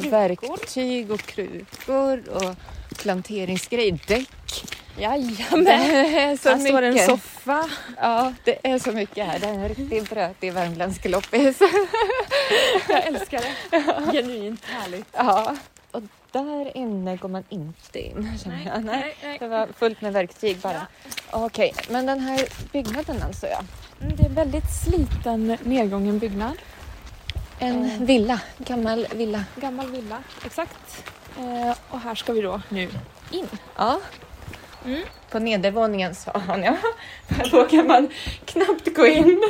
D: verktyg och krukor och planteringsgrejer, däck.
J: Jajamän!
D: Det är så
J: Här står en
D: mycket.
J: soffa.
D: Ja, det är så mycket här. Det är en riktig brötig värmländsk loppis.
J: Jag älskar det. Genuint härligt.
D: Ja. Och där inne går man inte in, känner jag. Nej.
J: nej.
D: Det var fullt med verktyg bara. Okej, men den här byggnaden alltså ja.
J: Mm, Det är en väldigt sliten, nedgången byggnad.
D: En villa, gammal villa.
J: Gammal villa, exakt. Eh, och här ska vi då nu.
D: Ja. På nedervåningen sa han ja. För Då kan man knappt gå in.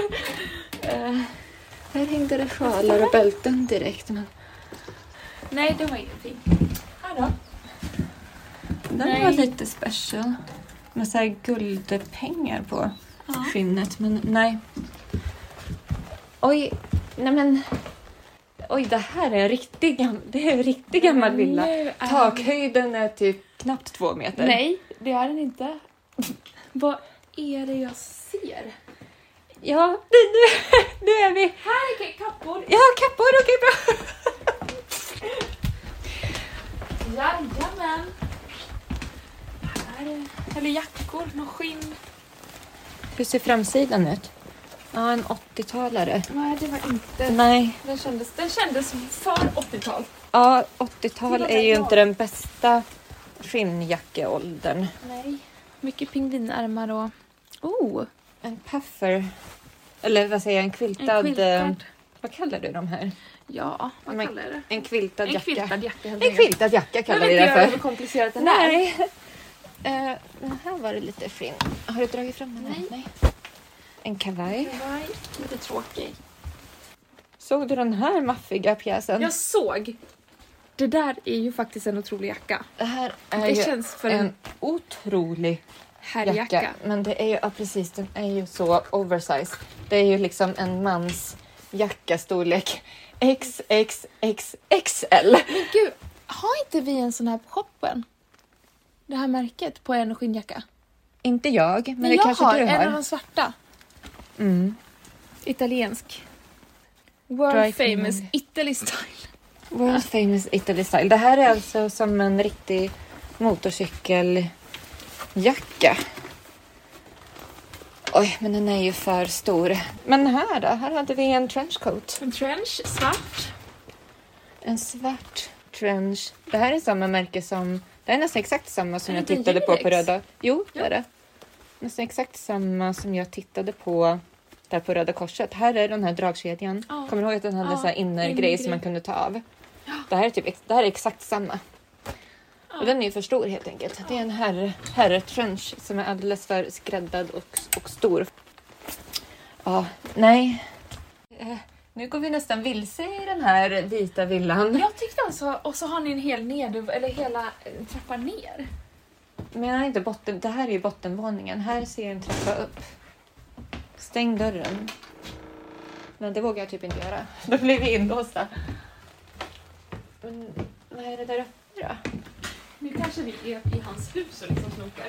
D: Eh, Här hängde det sjalar och bälten direkt. Men
E: Nej, det var ingenting.
D: den var lite special. Med så här guldpengar på skinnet. Men nej. Oj, nej men. Oj, det här är en riktig, gam- det är en riktig gammal villa.
J: Nu är-
D: Takhöjden är typ knappt två meter.
J: Nej, det är den inte. Vad är det jag ser?
D: Ja, nu, nu, nu är vi...
E: Här är kappor.
D: Ja, kappor, okej bra.
E: Jajamän. Här är- Eller jackor, någon skinn.
D: Hur ser framsidan ut? Ja, en 80-talare.
E: Nej, det var inte.
D: Nej.
E: Den kändes, den kändes för 80-tal.
D: Ja, 80-tal är ju inte den bästa skinnjackeåldern.
E: Nej. Mycket pingvinärmar och... Oh!
D: En puffer. Eller vad säger jag,
E: En
D: en quiltad...
E: quiltad.
D: eh, Vad kallar du de här?
E: Ja, vad
D: Men-
E: kallar jag det?
D: En quiltad
E: En
D: jacka.
E: quiltad jacka helt
D: En quiltad jacka
E: Jag
D: kallar
E: vill
D: vi
E: inte
D: det
E: göra det
D: för.
E: för komplicerat än det här.
D: Nej. Eh, men här var det lite skinn. Har du dragit fram den? Nej. Nej. En kavaj.
E: Nej, Lite tråkig.
D: Såg du den här maffiga pjäsen?
J: Mm.
E: Jag såg! Det där är ju faktiskt en otrolig jacka.
D: Det här är
E: Det
D: ju
E: känns för
D: en
E: en
D: otrolig
E: herrjacka.
D: jacka. Men det är ju, ja precis, den är ju så oversize. Det är ju liksom en mans jackastorlek XXXXL.
E: Gud, har inte vi en sån här på shoppen? Det här märket på en skinnjacka?
D: Inte jag, men, det
E: jag
D: kanske
E: har
D: du
E: en
D: har.
E: av de svarta.
D: Mm.
E: Italiensk.
J: World
D: Dry
J: famous Italy style.
D: World famous Italy style. Det här är alltså som en riktig motorcykeljacka. Oj, men den är ju för stor. Men här då? Här hade vi en trenchcoat.
E: En trench, svart.
D: En svart trench. Det här är samma märke som... Det här är nästan exakt samma som
E: Är det
D: jag
E: inte
D: tittade på på
E: Unisex?
D: Röda... Jo, det är det. Nästan exakt samma som jag tittade på där på Röda Korset. Här är den här dragkedjan.
E: Ja.
D: Kommer du ihåg att den hade
E: Ja,
D: så här innergrej
E: innergrej.
D: som man kunde ta av? Det här är, typ, ex- det här är exakt samma. Och den är ju för stor helt enkelt. Det är en herr- herretrench som är alldeles för skräddad och, och stor. Ja, nej. Eh, Nu går vi nästan vilse i den här vita villan.
E: Jag tyckte alltså, och så har ni en hel ned, eller hela eh, trappa ner.
D: Men jag har inte botten, det här är ju bottenvåningen. Här ser jag en trappa upp. Stäng dörren. Men det vågar jag typ inte göra. Då blir vi inlåsta. Men vad är det där uppe då?
E: Nu kanske vi är i hans hus och liksom snokar.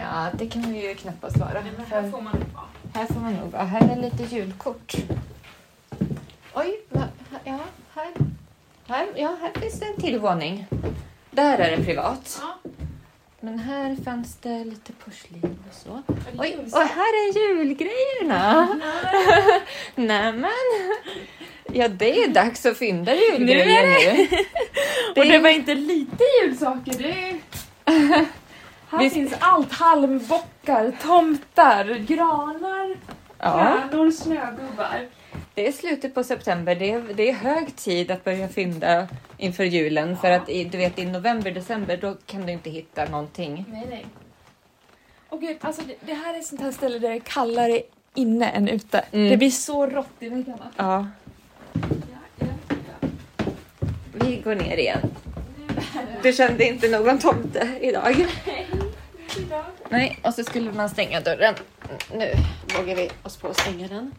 D: Ja, det kan vi ju knappast vara.
E: Men här
D: Här,
E: får man vara.
D: här får man nog vara. Här är lite julkort. Oj, va, här- ja, här. Här, ja, här finns det en till våning. Där är det privat.
E: Ja.
D: Men här fanns det lite porslin och så.
E: Är det
D: Oj,
E: ljus?
D: och här är julgrejerna! Nämen! Ja, det är dags att fynda julgrejer nu.
J: Och det var inte lite.
E: Julsaker, det är... Här
D: Vi-
E: finns allt. Halmbockar, tomtar, granar,
D: Ja,
E: stjärnor, snögubbar.
D: det är slutet på september. Det är, det är hög tid att börja fynda inför julen. För att i, du vet, i november, december, då kan du inte hitta någonting.
E: Nej, nej.
J: Åh gud, alltså det, det här är ett sånt här ställe där det är kallare inne än ute.
D: Mm.
J: Det blir så rått i väggarna.
D: Ja,
E: Ja, ja.
D: vi går ner igen. Du kände inte någon tomte idag? Nej, och så skulle man stänga dörren. Nu vågar vi oss på att stänga den.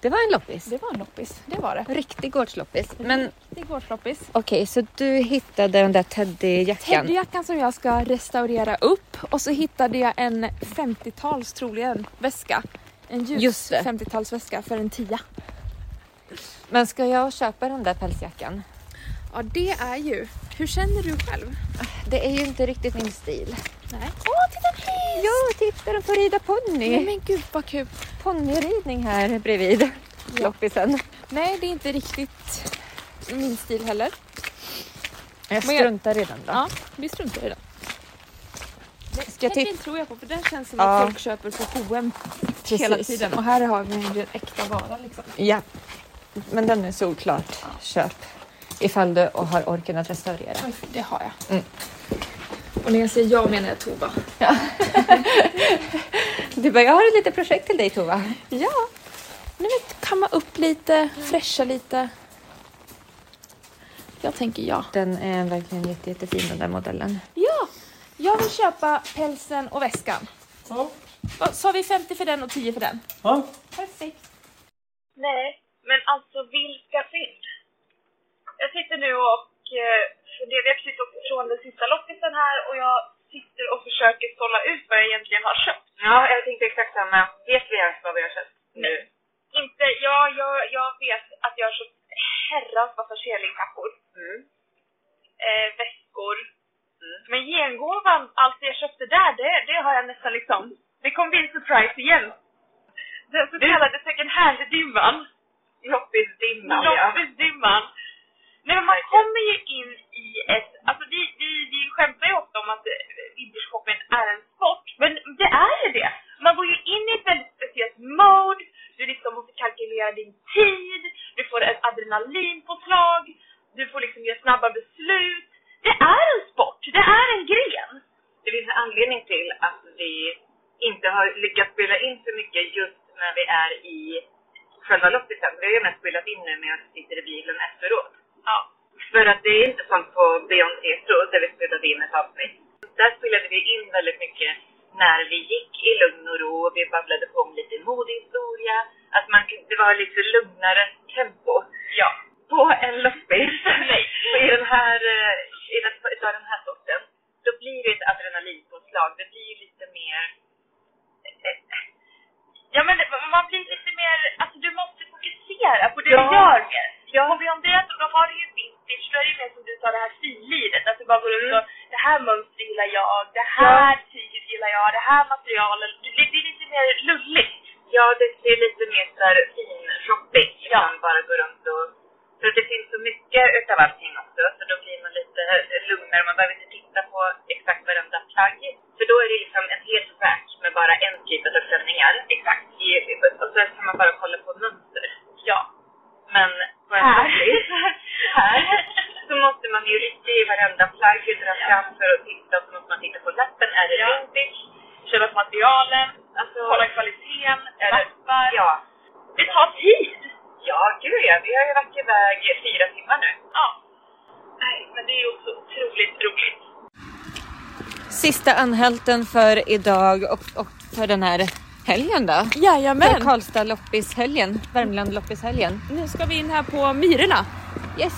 D: Det var en loppis.
J: Det var en loppis, det var det.
D: Riktig gårdsloppis. Men
J: Det går loppis.
D: Okej, så du hittade den där Teddyjackan?
J: Teddyjackan som jag ska restaurera upp och så hittade jag en 50-tals troligen väska. En ljus
D: Just det.
J: 50-talsväska för en tia.
D: Men ska jag köpa den där pälsjackan?
J: Ja det är ju. Hur känner du själv?
D: Det är ju inte riktigt min stil.
J: Nej. Åh titta en häst!
D: Jo, titta de får rida
J: Nej,
D: ponny!
J: men gud vad kul.
D: Ponnyridning här bredvid loppisen.
J: Nej det är inte riktigt min stil heller.
D: Jag
J: Men jag-
D: struntar redan då.
J: Ja, vi struntar i den.
D: Ska jag
J: Teddyn
D: titta?
J: tror jag på för den känns som
D: Ja.
J: att folk köper på H&M hela tiden och här har vi en äkta vara liksom.
D: Ja, men den är såklart köp. Ifall du har orken att restaurera.
J: Oj, det har jag.
D: Mm.
E: Och när jag säger jag menar jag Tova.
D: Du bara, jag har ett litet projekt till dig Tova.
J: Ja, nu vet, kamma upp lite, fräscha lite. Jag tänker ja.
D: Den är verkligen jätte, jättefin den där modellen.
J: Ja, jag vill köpa pälsen och väskan. Ja. Så har vi 50 för den och 10 för den.
C: Ja.
J: Perfekt.
H: Nej, men alltså vilka fynd! Jag sitter nu och eh, funderar jag precis upp från den sista loppisen här och jag sitter och försöker sålla ut vad jag egentligen har köpt. Ja, jag tänkte exakt samma. Vet vi ens vad vi har köpt nu? Inte, ja, jag, jag vet att jag har köpt herrans massa kelingkappor. Eh, väskor. Men gengåvan, allt jag köpte där, det, det har jag nästan liksom... Det kommer bli en surprise igen. Den så kallade second hand-dimman. Loppisdimman, ja. Loppisdimman. Nej, men man kommer ju in i ett... Alltså, vi, vi, vi skämtar ju ofta om att eh, vintershopping är en sport, men det är ju det. Man går ju in i ett väldigt speciellt mode, du liksom måste kalkylera din tid, du får ett adrenalinpåslag, du får liksom göra snabba beslut. Det är en sport, det är en gren.
K: Det finns en anledning till att vi inte har lyckats spela in så mycket just när vi är i själva loppisen. Vi har ju mest spelat in nu medan vi sitter i bilen efteråt. Ja. För att det är inte som på Beyoncés Road där vi spelade in ett avsnitt. Där spelade vi in väldigt mycket när vi gick i lugn och ro och vi babblade på om lite modehistoria. Att man, kunde- det var lite lugnare tempo. Ja. På en loppis. Nej. I den här, eh, i den, utav den här sorten då blir det ett adrenalinpåslag. Det blir ju lite mer...
H: Ja men det- man blir lite mer, alltså du måste få Göra, för det
K: Ja.
H: gör mer. Och vi om det att de har det ju vintage, då är det ju mer som du sa det här finliret. Att du bara går runt och det här mönstret gillar jag, det här tyget gillar jag, det här materialet. Det, det, det är lite mer lulligt. Ja, det, det är lite mer sådär fin shopping. Ja. Man bara går runt och... För det finns så mycket utav allting också, så då blir man lite lugnare. Man behöver inte titta på exakt varenda plagg. För då är det liksom en hel rack med bara en typ av klänningar. Exakt. I, och så kan man bara kolla på mönster. Ja. Men på en
E: Här.
H: shopping- här så måste man ju rycka i varenda plagg, dra fram för att titta. Och så måste man titta på lappen. Är det vintage? Känna på materialen. Alltså, kolla kvaliteten. Är lappar. Ja. Det tar tid. Ja, gud ja. Vi har ju varit iväg i fyra timmar nu. Ja. Nej, men det är ju också otroligt roligt.
D: Sista anhalten för idag och, och för den här helgen då. För
J: Jajamän!
D: Karlstad loppishelgen, Värmland loppishelgen.
J: Nu ska vi in här på Myrorna.
D: Yes!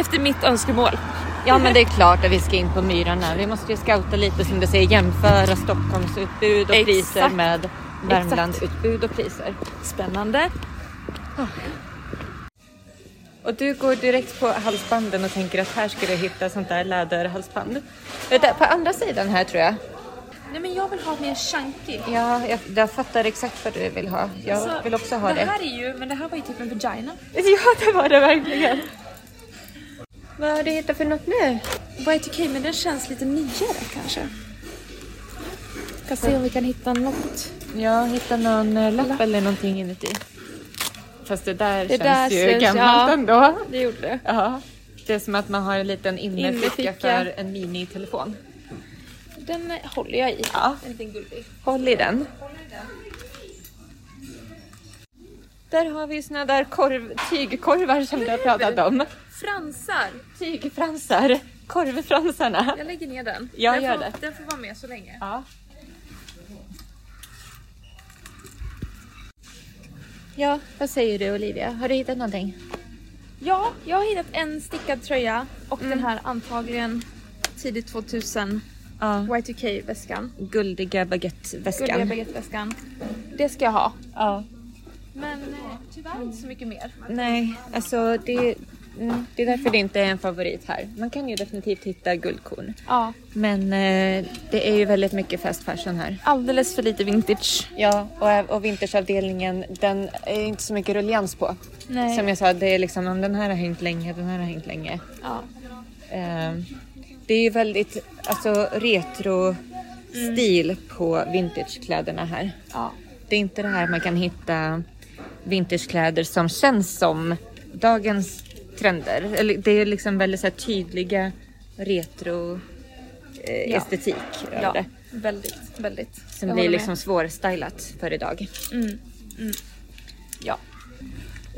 J: Efter mitt önskemål.
D: Ja men det är klart att vi ska in på Myrarna. Vi måste ju scouta lite som du säger, jämföra Stockholms utbud och
J: Exakt.
D: priser med Värmlands utbud och priser.
J: Spännande.
D: Och du går direkt på halsbanden och tänker att här ska du hitta sånt där läderhalsband. Eh, Där, på andra sidan här tror jag.
J: Nej men jag vill ha mer chunky.
D: Ja, jag, jag fattar exakt vad du vill ha. Jag
J: Så,
D: vill också ha Alltså, det.
J: Det här är ju, men det här var ju typ en vagina.
D: Ja, det var det verkligen. Vad har du hittat för något nu?
J: Y2K typ- men den känns lite nyare kanske. Ska se om vi kan hitta något.
D: Jag hittade någon eh, lapp eller någonting inuti. Fast det där
J: Det
D: känns
J: där
D: ju
J: känns-
D: gammalt
J: ja.
D: ändå.
J: Det gjorde det.
D: Ja. Det är som att man har en liten innerficka
J: Innerficka.
D: för en minitelefon.
J: Den håller jag i.
D: Ja.
J: En liten gullig.
D: Håll i den. Där har vi såna där korv, tygkorvar som du har pratat om.
J: Fransar!
D: Tygfransar. Korvfransarna.
J: Jag lägger ner den.
D: Ja,
J: den
D: gör
J: får,
D: det.
J: Den får vara med så länge.
D: Ja. Ja, vad säger du Olivia? Har du hittat någonting?
J: Ja, jag har hittat en stickad tröja och
D: Mm.
J: den här antagligen tidigt 2000
D: Ja,
J: Y2K-väskan.
D: guldiga
J: Gulliga
D: baguetteväskan.
J: baguetteväskan. Det ska jag ha.
D: Ja.
J: Men eh, tyvärr inte så mycket mer.
D: Nej, alltså det, mm, det är därför det inte är en favorit här. Man kan ju definitivt hitta guldkorn.
J: Ja,
D: Men eh, det är ju väldigt mycket fast fashion här.
J: alldeles för lite vintage.
D: Ja, och, och vintageavdelningen den är inte så mycket ruljans på.
J: Nej.
D: Som jag sa, det är liksom om den här har hängt länge, den här har hängt länge.
J: Ja.
D: Ehm, det är ju väldigt alltså, retro-stil på vintagekläderna här.
J: Ja.
D: Det är inte det här man kan hitta vintagekläder som känns som dagens trender. Eller, det är liksom väldigt så här, tydliga retro-estetik. över det.
J: Väldigt, väldigt.
D: Som
J: Jag
D: blir
J: håller med.
D: liksom svårstylat för idag.
J: Ja.
D: mm.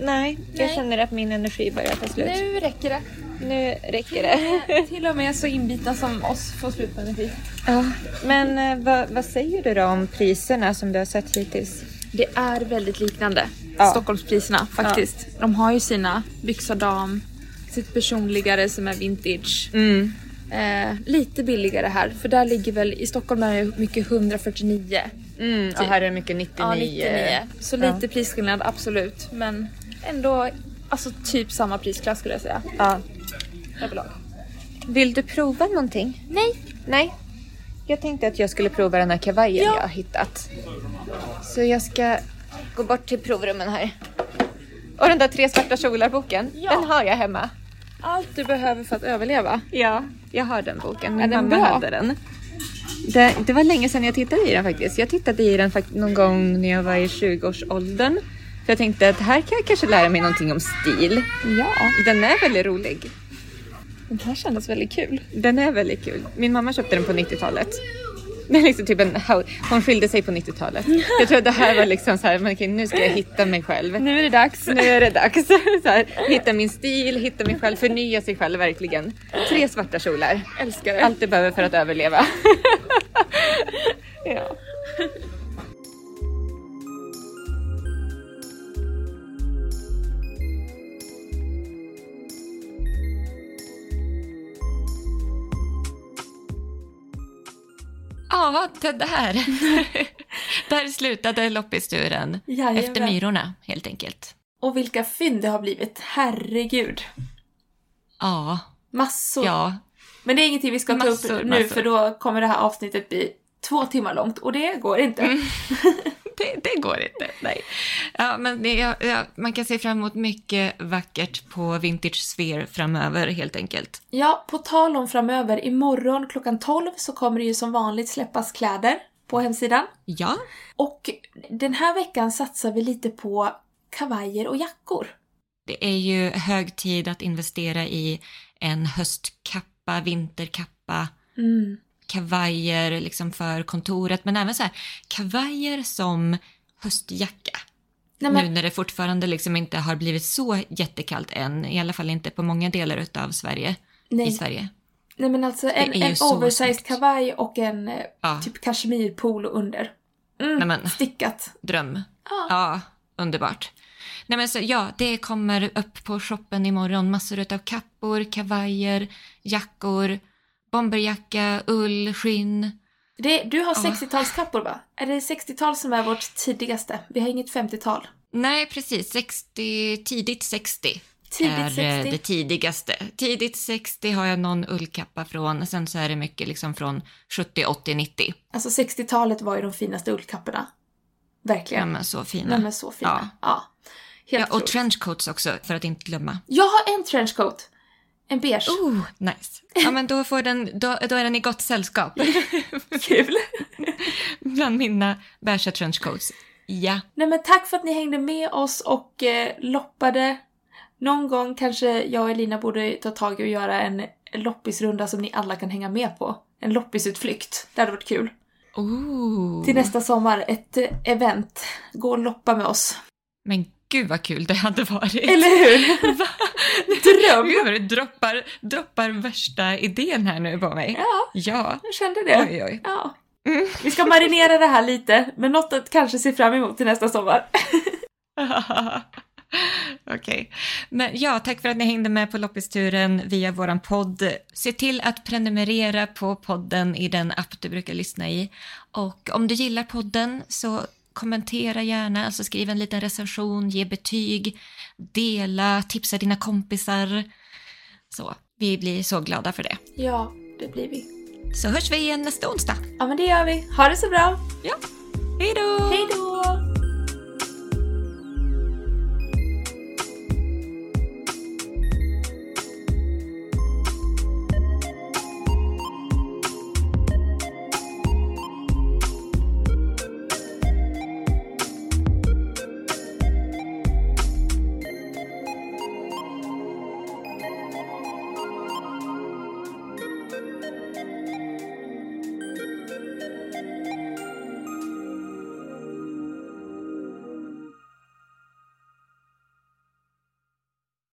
D: Nej, jag
J: Nej.
D: känner att min energi börjar ta slut.
J: Nu räcker det.
D: Nu räcker det.
J: Till och med så inbitna som oss får slut på energi.
D: ja. Men eh, vad, vad säger du då om priserna som du har sett hittills?
J: Det är väldigt liknande
D: Ja.
J: Stockholmspriserna faktiskt. De har ju sina byxa dam, sitt personligare som är vintage.
D: Mm.
J: Eh, lite billigare här, för där ligger väl, i Stockholm är det mycket 149.
D: Mm, och här är mycket 99.
J: Ja, 99. Så
D: Ja.
J: lite prisskillnad, absolut. Men ändå, alltså typ samma prisklass skulle jag säga.
D: Ja.
J: Överlag.
D: Vill du prova någonting?
J: Nej.
D: Nej. Jag tänkte att jag skulle prova den här kavajen
J: Ja.
D: jag har hittat. Så jag ska gå bort till provrummen här. Och den där tre svarta kjolar-boken,
J: Ja.
D: den har jag hemma.
J: Allt du behöver för att överleva.
D: Ja, jag har den boken. Min
J: Är den
D: mamma
J: bra?
D: hade den. Det, det var länge sedan jag tittade i den faktiskt. Jag tittade i den fakt- någon gång när jag var i 20-årsåldern. För jag tänkte att här kan jag kanske lära mig någonting om stil.
J: Ja.
D: Den är väldigt rolig.
J: Den här kändes väldigt kul.
D: Den är väldigt kul. Min mamma köpte den på 90-talet. Det är liksom typ en, hau- hon skilde sig på 90-talet. Jag tror att det här var liksom så här, men okej, nu ska jag hitta mig själv.
J: Nu är det dags.
D: Nu är det dags. Så här, hitta min stil, hitta mig själv, förnya sig själv verkligen. Tre svarta kjolar.
J: Älskar det.
D: Allt du behöver för att överleva.
J: Ja.
L: Ja, det där. där slutade loppisturen.
E: Jajamän.
L: Efter Myrorna, helt enkelt.
E: Och vilka fynd det har blivit. Herregud.
D: Ja,
E: Massor.
D: ja,
E: Men det är ingenting vi ska ta
D: Massor,
E: upp nu
D: massor.
E: för då kommer det här avsnittet bli två timmar långt och det går inte.
D: Mm. det, det går inte. Nej. Ja, men det, ja, ja, man kan se fram emot mycket vackert på Vintage Sphere framöver helt enkelt.
E: Ja, på tal om framöver, imorgon klockan 12 så kommer det ju som vanligt släppas kläder på hemsidan.
D: Ja,
E: Och den här veckan satsar vi lite på kavajer och jackor.
D: det är ju hög tid att investera i en höstkappa, vinterkappa,
E: Mm.
D: kavajer liksom för kontoret, men även så här kavajer som höstjacka.
E: Nej, men,
D: Nu när det fortfarande liksom inte har blivit så jättekallt än, i alla fall inte på många delar utav Sverige, i
E: nej,
D: Sverige.
E: nej men alltså
D: är
E: en,
D: ju
E: en
D: så
E: oversized
D: snyggt. Ah.
E: kavaj och en eh,
D: Ja,
E: typ kashmirpolo under. Mm,
D: Nej, men-
E: Stickat.
D: dröm.
E: Ja.
D: Ja, underbart. Nej men så ja, det kommer upp på shoppen imorgon, massor utav kappor, kavajer, jackor, bomberjacka, ull, skinn.
E: Det, du har
D: Ja.
E: 60-talskappor va? Är det 60-tal som är vårt tidigaste? Vi har inget 50-tal.
D: Nej precis, 60, tidigt 60 är
E: Tidigt
D: eh,
E: 60.
D: det tidigaste. Tidigt 60 har jag någon ullkappa från, sen så är det mycket liksom från 70, 80, 90.
E: Alltså 60-talet var ju de finaste ullkapporna.
D: Ja
E: Verkligen.
D: men så fina.
E: Nej men så fina. Ja.
D: Ja.
E: Helt
D: ja, och
E: otroligt.
D: trenchcoats också, för att inte glömma.
E: Jag har en trenchcoat. En beige.
D: Oh, nice. Ja men då, får den, då, då är den i gott sällskap.
E: Kul!
D: Bland mina beigea trenchcoats. Ja.
E: Nej men tack för att ni hängde med oss och eh, loppade. Någon gång kanske jag och Elina borde ta tag i och göra en loppisrunda som ni alla kan hänga med på. En loppisutflykt. Det hade varit kul.
D: Oh.
E: Till nästa sommar, ett eh, event. Gå och loppa med oss.
D: Men gud vad kul det hade varit.
E: Eller hur?
D: Va?
E: Dröm!
D: Gud vad du droppar, droppar värsta idén här nu på mig.
E: Ja,
D: Ja.
E: jag kände det.
D: Oj, oj.
E: Ja.
D: Mm.
E: Vi ska marinera det här lite, men något att kanske se fram emot till nästa sommar.
D: Okej. Men ja, tack för att ni hängde med på loppisturen via våran podd. Se till att prenumerera på podden i den app du brukar lyssna i. Och om du gillar podden så kommentera gärna, alltså skriv en liten recension, ge betyg, dela, tipsa dina kompisar. Så, vi blir så glada för det.
E: Ja, det blir vi.
D: Så hörs vi igen nästa onsdag.
E: Ja, men det gör vi. Ha det så bra.
D: Hej då!
E: Hej då!